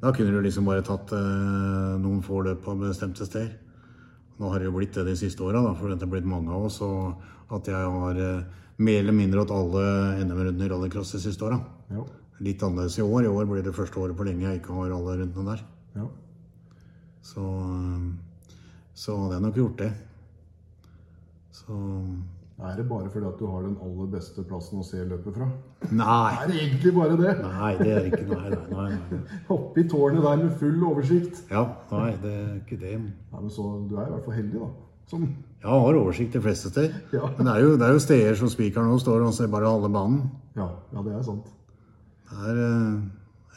Da kunne du liksom bare tatt eh, noen få løp på bestemte steder. Nå har det jo blitt det de siste åra, for det har blitt mange av oss. Og at jeg har eh, mer eller mindre hatt alle NM-rundene i rallycross de siste åra. Ja. Litt annerledes i år. I år blir det første året på lenge jeg ikke har alle rundene der. ja. Så, eh, så hadde jeg nok gjort det. Så Er det bare fordi at du har den aller beste plassen å se løpet fra? Nei! Er det egentlig bare det? Nei, det er ikke Nei, nei, nei. nei. Oppe i tårnet der med full oversikt. Ja, nei, det er ikke det. Nei, men så Du er i hvert fall heldig, da. Som Jeg har oversikt de fleste steder. Ja. Men det er, jo, det er jo steder som spikeren nå står og ser bare halve banen. Ja, ja det er sant. Det er, eh,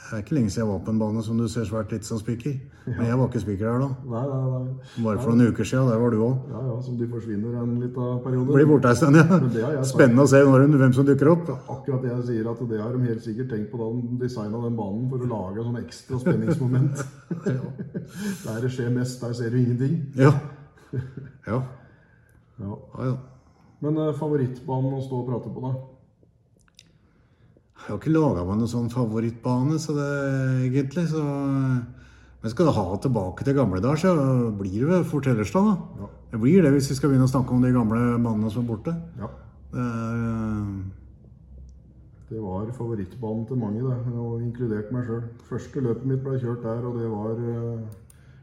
det er ikke lenge siden jeg var på en bane som du ser svært litt som spiker. Men jeg var ikke spiker her da. Nei, nei, nei. Bare for noen uker siden. Der var du òg. Ja, ja, som de forsvinner en liten periode. Blir borte ei stund, det har ja. jeg sagt. Spennende å se når, hun- hvem som dukker opp. Akkurat det jeg sier, at det har de helt sikkert tenkt på da de designa den banen, for å lage sånn ekstra spenningsmoment. der det skjer mest, der ser du ingenting. Ja. Ja, Ja. ja. ja. Men eh, favorittbanen å stå og prate på, da? Jeg har ikke laga meg noen sånn favorittbane, så det egentlig, så Men skal du ha tilbake til gamle dager, så blir det vel Fort Hellerstad, da. Ja. Det blir det, hvis vi skal begynne å snakke om de gamle banene som er borte. Ja. Det er, Det var favorittbanen til mange, det, og inkludert meg sjøl. Første løpet mitt ble kjørt der, og det var eh,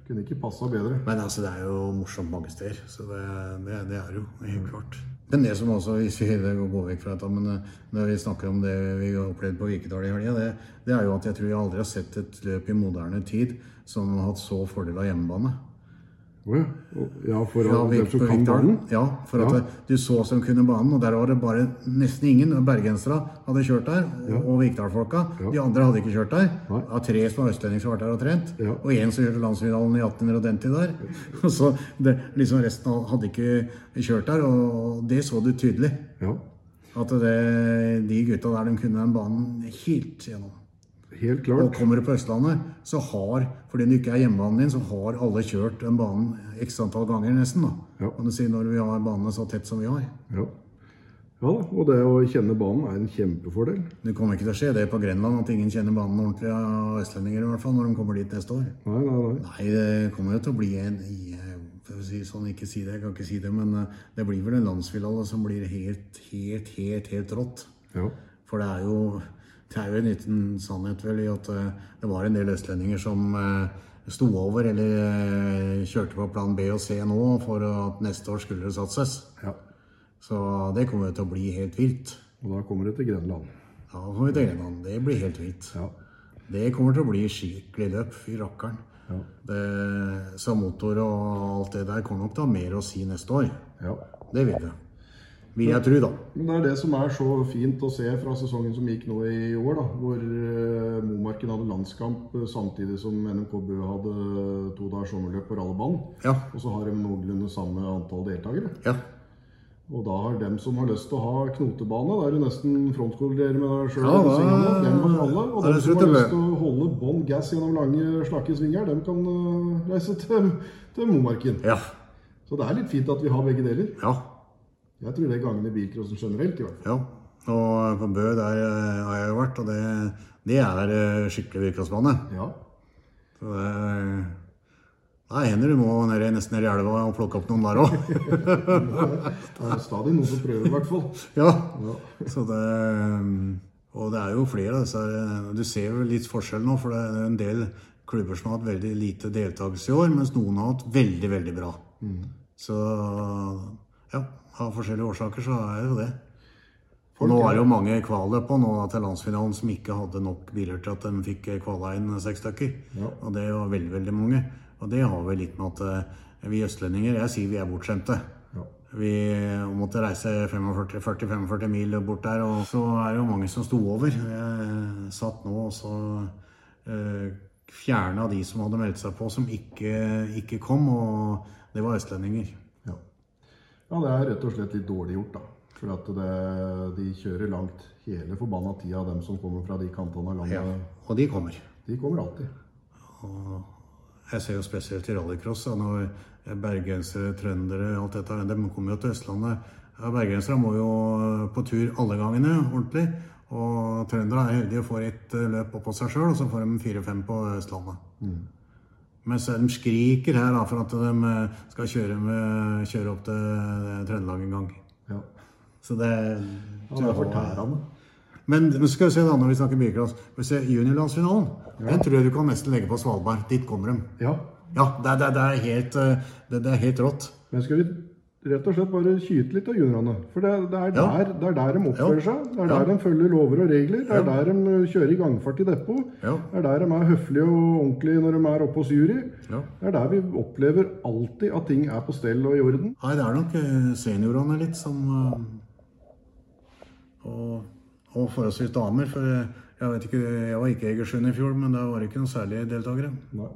Kunne ikke passa bedre. men altså, det er jo morsomt mange steder, så det, det, det er jo helt klart. Men det som også, hvis vi det går vekk fra dette, men eh, når vi snakker om det vi har opplevd på Vikedal i helga, det, det er jo at jeg tror jeg aldri har sett et løp i moderne tid som har hatt så fordel av hjemmebane. Å ja. Og- ja, for Ja, å- Vik- dem som på kan Vikdalen. banen. Ja, for at Ja. det- du så som kunne banen, og der var det bare nesten ingen bergensere hadde kjørt der. og- Og Vikdal-folka. Ja. De andre hadde ikke kjørt der. Nei. Av tre som var østlendinger som var der og trent. Ja. Og én som kjørte landsfinalen i 1890 der. Og så det, liksom resten av- hadde ikke kjørt der, og det så du tydelig. Ja. At det, de gutta der, de kunne den banen helt gjennom. Helt klart. Og kommer du på Østlandet, så har, fordi det ikke er hjemmebanen din, så har alle kjørt den banen x antall ganger nesten. da. Ja. Kan du si når vi har banene så tett som vi har. Ja. ja da. Og det å kjenne banen er en kjempefordel. Det kommer ikke til å skje det på Grenland at ingen kjenner banen ordentlig av østlendinger i hvert fall når de kommer dit neste år. Nei, nei, nei. Nei, det kommer jo til å bli en jeg- for å si det sånn, ikke si det, jeg kan ikke si det, men eh, det blir vel en landsfinale som blir helt, helt, helt, helt rått. Ja. For det er jo, det er jo en liten sannhet vel i at eh, det var en del østlendinger som eh, sto over eller eh, kjørte på plan B og C nå for at neste år skulle det satses. ja. Så det kommer jo til å bli helt vilt. Og da kommer det til Grenland. Da får vi til Grenland. Det blir helt vilt. Ja. Det kommer til å bli skikkelig løp. Fy rakkeren. Ja. Det- Så motor og alt det der kommer nok til å ha mer å si neste år. ja. Det vil det. Vil jeg tro, da. Men det er det som er så fint å se fra sesongen som gikk nå i år, da, hvor eh, Momarken hadde landskamp eh, samtidig som NMK Bø hadde to dagers sommerløp på rallybanen. Ja. Og så har de noenlunde samme antall deltakere. ja. Og da har dem som har lyst til å ha knotebane, da er du nesten frontkollidere med deg sjøl. Ja, da- dem har alle. da Og er dem det som slutt har å lyst bø. til å holde bånn gass gjennom lange, slakke svinger, dem kan eh, reise til, til Momarken. Ja. Så det er litt fint at vi har begge deler. ja. Jeg tror det gagner bilcrossen generelt, i hvert fall. Ja, og på Bø der eh, har jeg jo vært, og det, det er eh, skikkelig virkelighetsbane. Ja. Så det er- Nei, hender du må ned, i- nesten ned i elva og plukke opp noen der òg. Det er stadig noen som prøver, i hvert fall. ja. Så det eh, Og det er jo flere av disse her, eh, Du ser jo litt forskjell nå, for det er en del klubber som har hatt veldig lite deltakelse i år, mens noen har hatt veldig, veldig bra. Så ja, av forskjellige årsaker så er jo det. Og nå er det jo mange kvalløp på nå til landsfinalen som ikke hadde nok biler til at de fikk eh, kvala inn seks stykker. Ja. Og det var veldig, veldig mange. Og det har vel litt med at eh, vi østlendinger, jeg sier vi er bortskjemte. Ja. Vi måtte reise 45-45 mil bort der, og så er det jo mange som sto over. Jeg satt nå og så eh, fjerna de som hadde meldt seg på, som ikke, ikke kom, og det var østlendinger. Ja. ja, det er rett og slett litt dårlig gjort, da. For at det, de kjører langt hele forbanna tida, dem som kommer fra de kantene av landet. Og de kommer. De kommer alltid. Jeg ser jo spesielt i rallycross. Da, når bergensere, trøndere, alt dette, de kommer jo til Østlandet. Ja, Bergensere må jo på tur alle gangene, ordentlig. Og trøndere er heldige og får ett eh, løp oppå seg sjøl, og så får de fire-fem på Østlandet. Mm. Mens de skriker her da, for at de eh, skal kjøre, med, kjøre opp til eh, Trøndelag en gang. Ja. Så det, Ja, det er fortærende. Men, men skal vi se da, når vi snakker bilcross Skal vi se Juniorlandsfinalen, den tror jeg du kan nesten legge på Svalbard. Dit kommer de. Ja. Ja, det, er- det, er- det, er helt, eh, det, det er helt rått. Men skal vi rett og slett bare kyte litt av juniorene? For det, det, er Ja. der, det er der de oppfører Ja. seg. Det er Ja. der de følger lover og regler. Det er der de kjører i gangfart i depot. Ja. Det er der de er høflige og ordentlige når de er oppe hos jury. Ja. Det er der vi opplever alltid at ting er på stell og i orden. Nei, det er nok eh, seniorene litt som eh, og, og forholdsvis damer, for eh, jeg vet ikke, jeg var ikke i Egersund i fjor, men der var det ikke noen særlige deltakere. Nei.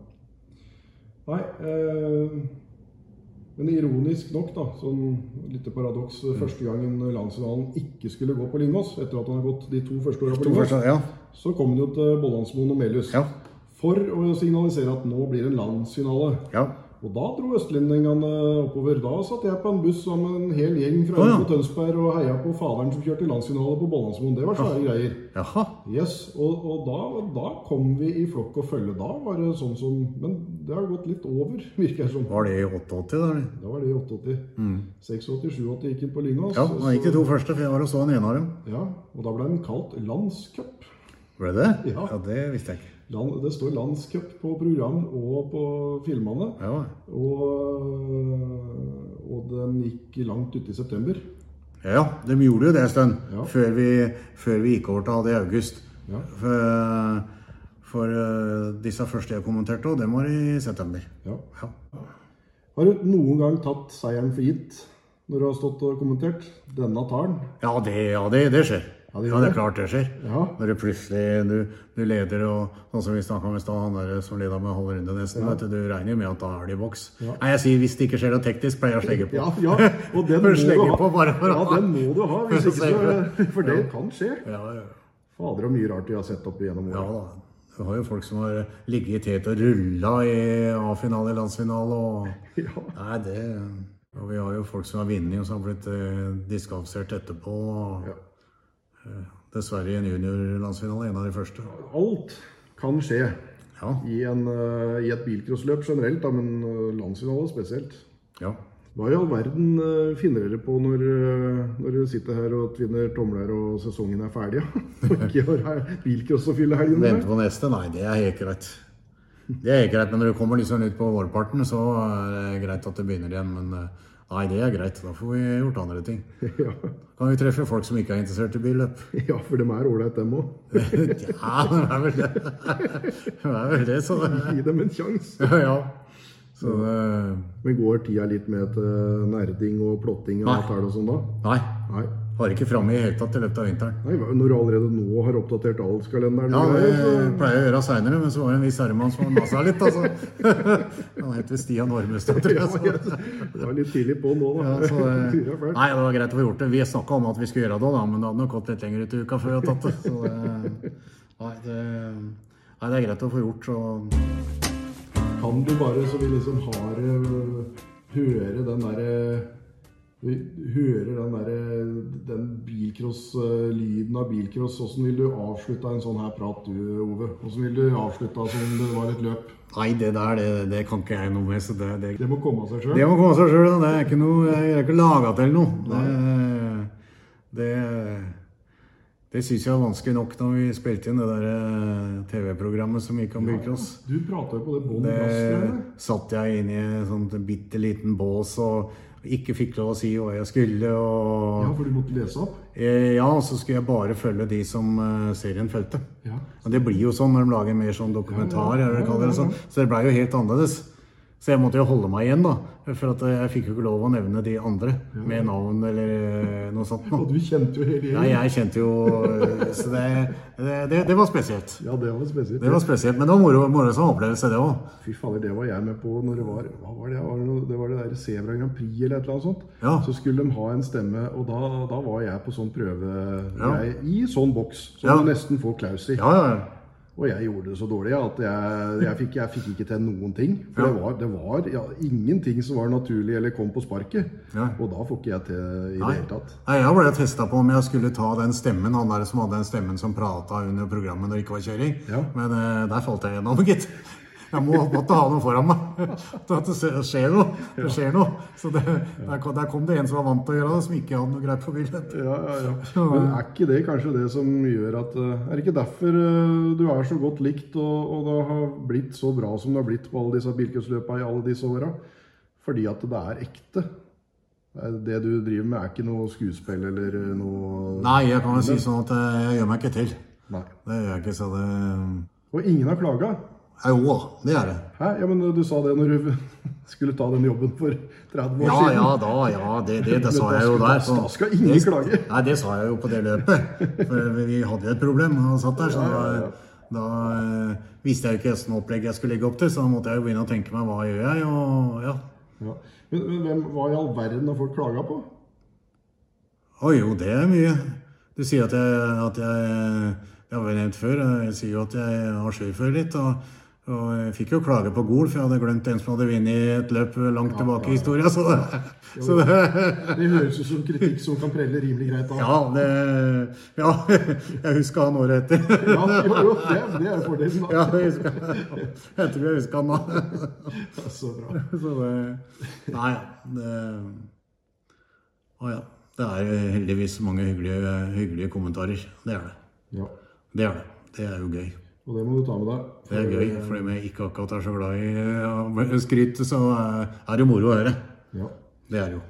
Nei eh, men ironisk nok, da, sånn litt paradoks Mm. Første gangen landsfinalen ikke skulle gå på Lyngås, etter at han har gått de to første åra på Lyngås, Ja, så kom han jo til Bollandsmoen og Melhus. ja, For å signalisere at nå blir det en landsfinale. ja. Og da dro østlendingene oppover. Da satt jeg på en buss sammen med en hel gjeng fra Å, ja. Øvre Tønsberg og heia på faderen som kjørte landsfinale på Bollandsmoen. Det var svære greier. Jaha. Yes, Og, og da, da kom vi i flokk og følge. Da var det sånn som Men det har gått litt over, virker det som. Var det i 88, da? eller? Da var det i 88. 86-87 gikk inn på Lyngås. Mm. Ja, da gikk de to første, for jeg var og så den ene av dem. Ja, og da ble den kalt landscup. Ble det? Ja. ja det visste jeg ikke. Land, det står landscup på program og på filmene. Ja, Og, og den gikk langt ute i september. ja de gjorde jo det en stund. Ja. Før, vi, før vi gikk over til å ha det i august. Ja. For, for eh, disse første jeg kommenterte, og dem var i september. Ja. Ja. Har du noen gang tatt seieren for gitt når du har stått og kommentert? Denne tar den. Ja, det, ja, det, det skjer. Ja, Ja, det det, gjør er det. klart det skjer. Ja. Når du plutselig du, du leder og sånn som vi snakka om i stad, han der som leda med halv runde nesten, vet du, du regner jo med at da er det i boks. Ja. Nei, jeg sier hvis det ikke skjer noe teknisk, pleier jeg å slegge på. Ja, ja. Og den må Først du legger ha. på bare for å ja, ha. den må du ha, hvis ikke så eh, For det kan skje. Ja, ja. Fader, og mye rart vi har sett opp igjennom ja årene. da. Du har jo folk som har ligget i tet og rulla i A-finale, landsfinale og Ja. Nei, det Og vi har jo folk som har vunnet og som har blitt eh, diskvalifisert etterpå. og- Ja. Eh, Dessverre i en juniorlandsfinale, en av de første. Alt kan skje Ja. i, en, eh, i et bilcrossløp generelt, da, men eh, landsfinale spesielt. ja. Hva i all verden eh, finner dere på når, eh, når dere sitter her og tvinner tomler og sesongen er ferdig? ja? Og ikke har he- bilcross å fylle helgen Vente med? på neste? Nei, det er helt greit. Det er helt greit, men når du kommer liksom ut på vårparten, så er det greit at det begynner igjen. Men eh, nei, det er greit. Da får vi gjort andre ting. Ja, Kan vi treffe folk som ikke er interessert i billøp? ja for dem er ålreit, dem òg. ja, det er vel det. Det er vel det, så det Gi dem en sjanse. Ja. Så eh, det Men går tida litt med til nerding og plotting og Nei. alt det der og sånn da? Nei. Nei. Har ikke framme i det hele tatt i løpet av vinteren. Nei, hva- Når du allerede nå har oppdatert alderskalenderen Ja, og det greier, pleier jeg å gjøre seinere, men så var det en viss herremann som masa litt, altså. Han het vel Stian Ormestad, tror jeg. så- Så. Det var litt tidlig på nå, da. Ja, så det, Fyra fælt. nei, det var greit å få gjort det. Vi snakka om at vi skulle gjøre det òg, men det hadde nok gått litt lenger ut i uka før vi hadde tatt det. Så det, nei, det, nei, det er greit å få gjort, så Kan du bare, så vi liksom har øh, Høre den derre vi hører den der, eh, den bilcross, øh, lyden av bilcross. Hvordan vil du avslutte en sånn her prat, du, Ove? Hvordan vil du avslutte som det var et løp? Nei, det der, det, det kan ikke jeg noe med. Så det, det, Det må komme av seg sjøl. det må komme seg sjøl. Det er ikke noe Jeg greier ikke å lage til noe. Det, det, det syns jeg var vanskelig nok da vi spilte inn det der eh, TV-programmet som gikk om bilcross. Du prata jo på det bånn Det gass-greiene. satt jeg inne i en sånn bitte liten bås og ikke fikk lov å si hva jeg skulle. Ja, Og, for du måtte lese opp? Eh, ja, og så skulle jeg bare følge de som eh, serien fulgte. Ja. Og det blir jo sånn når de lager mer sånn dokumentar, eller hva det kaller det. Sånn. Så det blei jo helt annerledes. Så jeg måtte jo holde meg igjen, da. For at eh, jeg fikk jo ikke lov å nevne de andre med navn eller eh, noe sånt. Og Nå. du kjente jo hele Nei, gjengen. jeg kjente jo eh, Så det, det, det, det var spesielt. Ja, det var spesielt. Det var spesielt, Men det var moro, moro som opplevelse, det òg. Fy fader, det var jeg med på når det var Hva var det? Var det, noe- det var det der Sebra Grand Prix eller et eller annet sånt. Ja. Så skulle de ha en stemme, og da, da var jeg på sånn prøve Ja. jeg, i sånn boks. Som Ja. du nesten får klaus i. Ja, ja. Og jeg gjorde det så dårlig ja, at jeg, jeg, fikk, jeg fikk ikke til noen ting. For Ja. det var, det var ja, ingenting som var naturlig eller kom på sparket. Ja. Og da får ikke jeg til i det Nei. hele tatt. Nei, jeg ble testa på om jeg skulle ta den stemmen, han der som hadde den stemmen som prata under programmet når det ikke var kjøring. Ja. Men eh, der falt jeg gjennom, gitt. Jeg må, måtte ha noe foran meg. Så at det skjer- skjer noe. Det skjer noe. Så det, der, kom, der kom det en som var vant til å gjøre det, som ikke hadde noe greit på bildet. Ja, ja, ja. Men er ikke det kanskje det som gjør at eh, Er det ikke derfor eh, du er så godt likt og, og det har blitt så bra som det har blitt på alle disse bilcrossløpa i alle disse åra? Fordi at det er ekte. Eh, Det du driver med, er ikke noe skuespill eller eh, noe Nei, jeg kan vel si sånn at eh, jeg gjør meg ikke til. Nei. Det gjør jeg ikke, så det Og ingen har klaga. Nei, Jo da, det er det. Hæ? Ja, men eh, du sa det når du skulle ta den jobben for 30 år Ja, siden. ja, da, ja, det, det, det sa Men da jeg jo skal- der. da skal ingen det, klage. Nei, det sa jeg jo på det løpet. For vi hadde jo et problem. Han satt der, så da, da eh, visste jeg jo ikke hvilket opplegg jeg skulle legge opp til. Så da måtte jeg jo begynne å tenke meg hva gjør jeg, og ja. Ja. Men, men hvem, hva i all verden har folk klaga på? Å jo, det er mye. Du sier at jeg, at jeg Jeg har vel nevnt før, jeg sier jo at jeg har sjøfører litt. Og, Og jeg fikk jo klage på Gol, for jeg hadde glemt en som hadde vunnet et løp langt tilbake i historien. Så, det- så det, Det høres ut som kritikk som kan prelle rimelig greit av. ja, det, ja, jeg husker han året etter. Ja, jo, jo, det, det er fordelen. Ja, da. jeg, husker, jeg tror jeg husker han da. Så bra. Så det Nei, det Å ja. Det er heldigvis mange hyggelige, hyggelige kommentarer. Det er det. Ja. Det er det. Det er jo gøy. Og det må du ta med deg. Det er gøy, for om jeg ikke akkurat er så glad i eh, skryt, så eh, er det jo moro å høre. Ja. Det er det jo.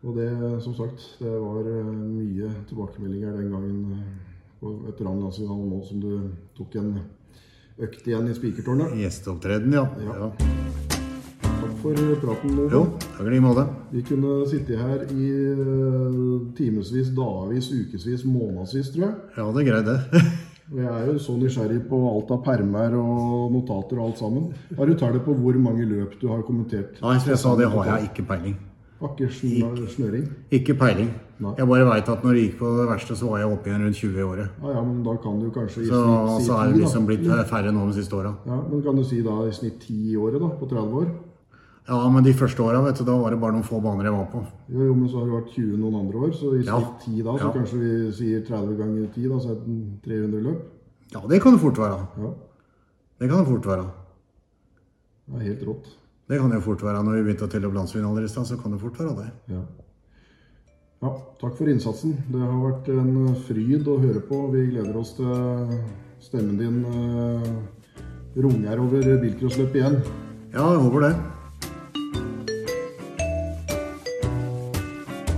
Og det, som sagt, det var eh, mye tilbakemeldinger den gangen eh, på veteranlandslaget nå som du tok en økt igjen i spikertårnet. Gjesteopptreden, ja. ja. Takk for praten. Loven. Jo, takk i like måte. Vi kunne sitte her i eh, timevis, dagevis, ukevis, månedsvis, tror jeg. Ja, det er greit, det. Og Jeg er jo så nysgjerrig på alt av permer og notater og alt sammen. Har du tallet på hvor mange løp du har kommentert? Nei, som jeg sa, det har jeg ikke peiling. Har ikke snø- snøring? Ikke peiling. Nei. Jeg bare veit at når det gikk på det verste, så var jeg oppe igjen rundt 20 i året. Ja, ja, men da kan du kanskje i Så, snitt si så er det ti, liksom da. Mm. blitt færre nå de siste åra. Ja, men kan du si da i snitt ti i året, da, på 30 år? Ja, men de første åra, vet du, da var det bare noen få baner jeg var på. Jo, jo, men så har det vært 20 noen andre år, så i Ja. snitt 10 da, så Ja. kanskje vi sier 30 ganger 10, da, så er det 300 løp. Ja, det kan det fort være. Ja, Det kan det fort være. det er helt rått. Det kan det jo fort være. Når vi begynte å telle opp landsfinaler i stad, så kan det fort være det. Ja. ja, takk for innsatsen. Det har vært en fryd å høre på. Vi gleder oss til stemmen din eh, runger over bilcrossløpet igjen. Ja, jeg håper det.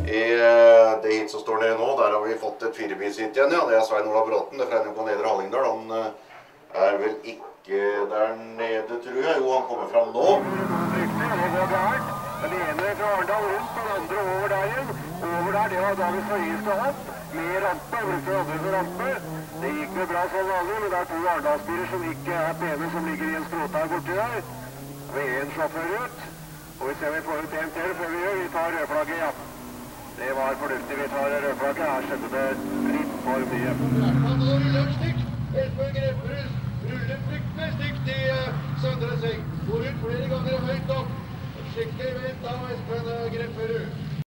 I eh, det hit som står nede nå, der har vi fått et firebilshit igjen. ja. Det er Svein Olav Bråten. Det fra på Nedre Hallingdal. Han eh, er vel ikke der nede, tror jeg. Jo, han kommer fram nå. Den ene fra Arendal rundt, den andre over der igjen. Over der, det var dagens høyeste hopp. Med rampe, brukte andre for rampe. Det gikk jo bra som vanlig, men det er to Arendalsbiler som ikke er pene, som ligger i en skråte her borti der. Ved en sjåfør ut. Og vi ser vi får ut en til før vi gjør. Vi tar rødflagget, ja. Det var fornuftig. Vi tar rødflagget. Her skjedde det litt for mye. Han ruller stygt. Espen Grepperud ruller fryktelig stygt i eh, Søndre Sving. Går ut flere ganger høyt opp. Skikkelig vent av Espen eh, Grepperud.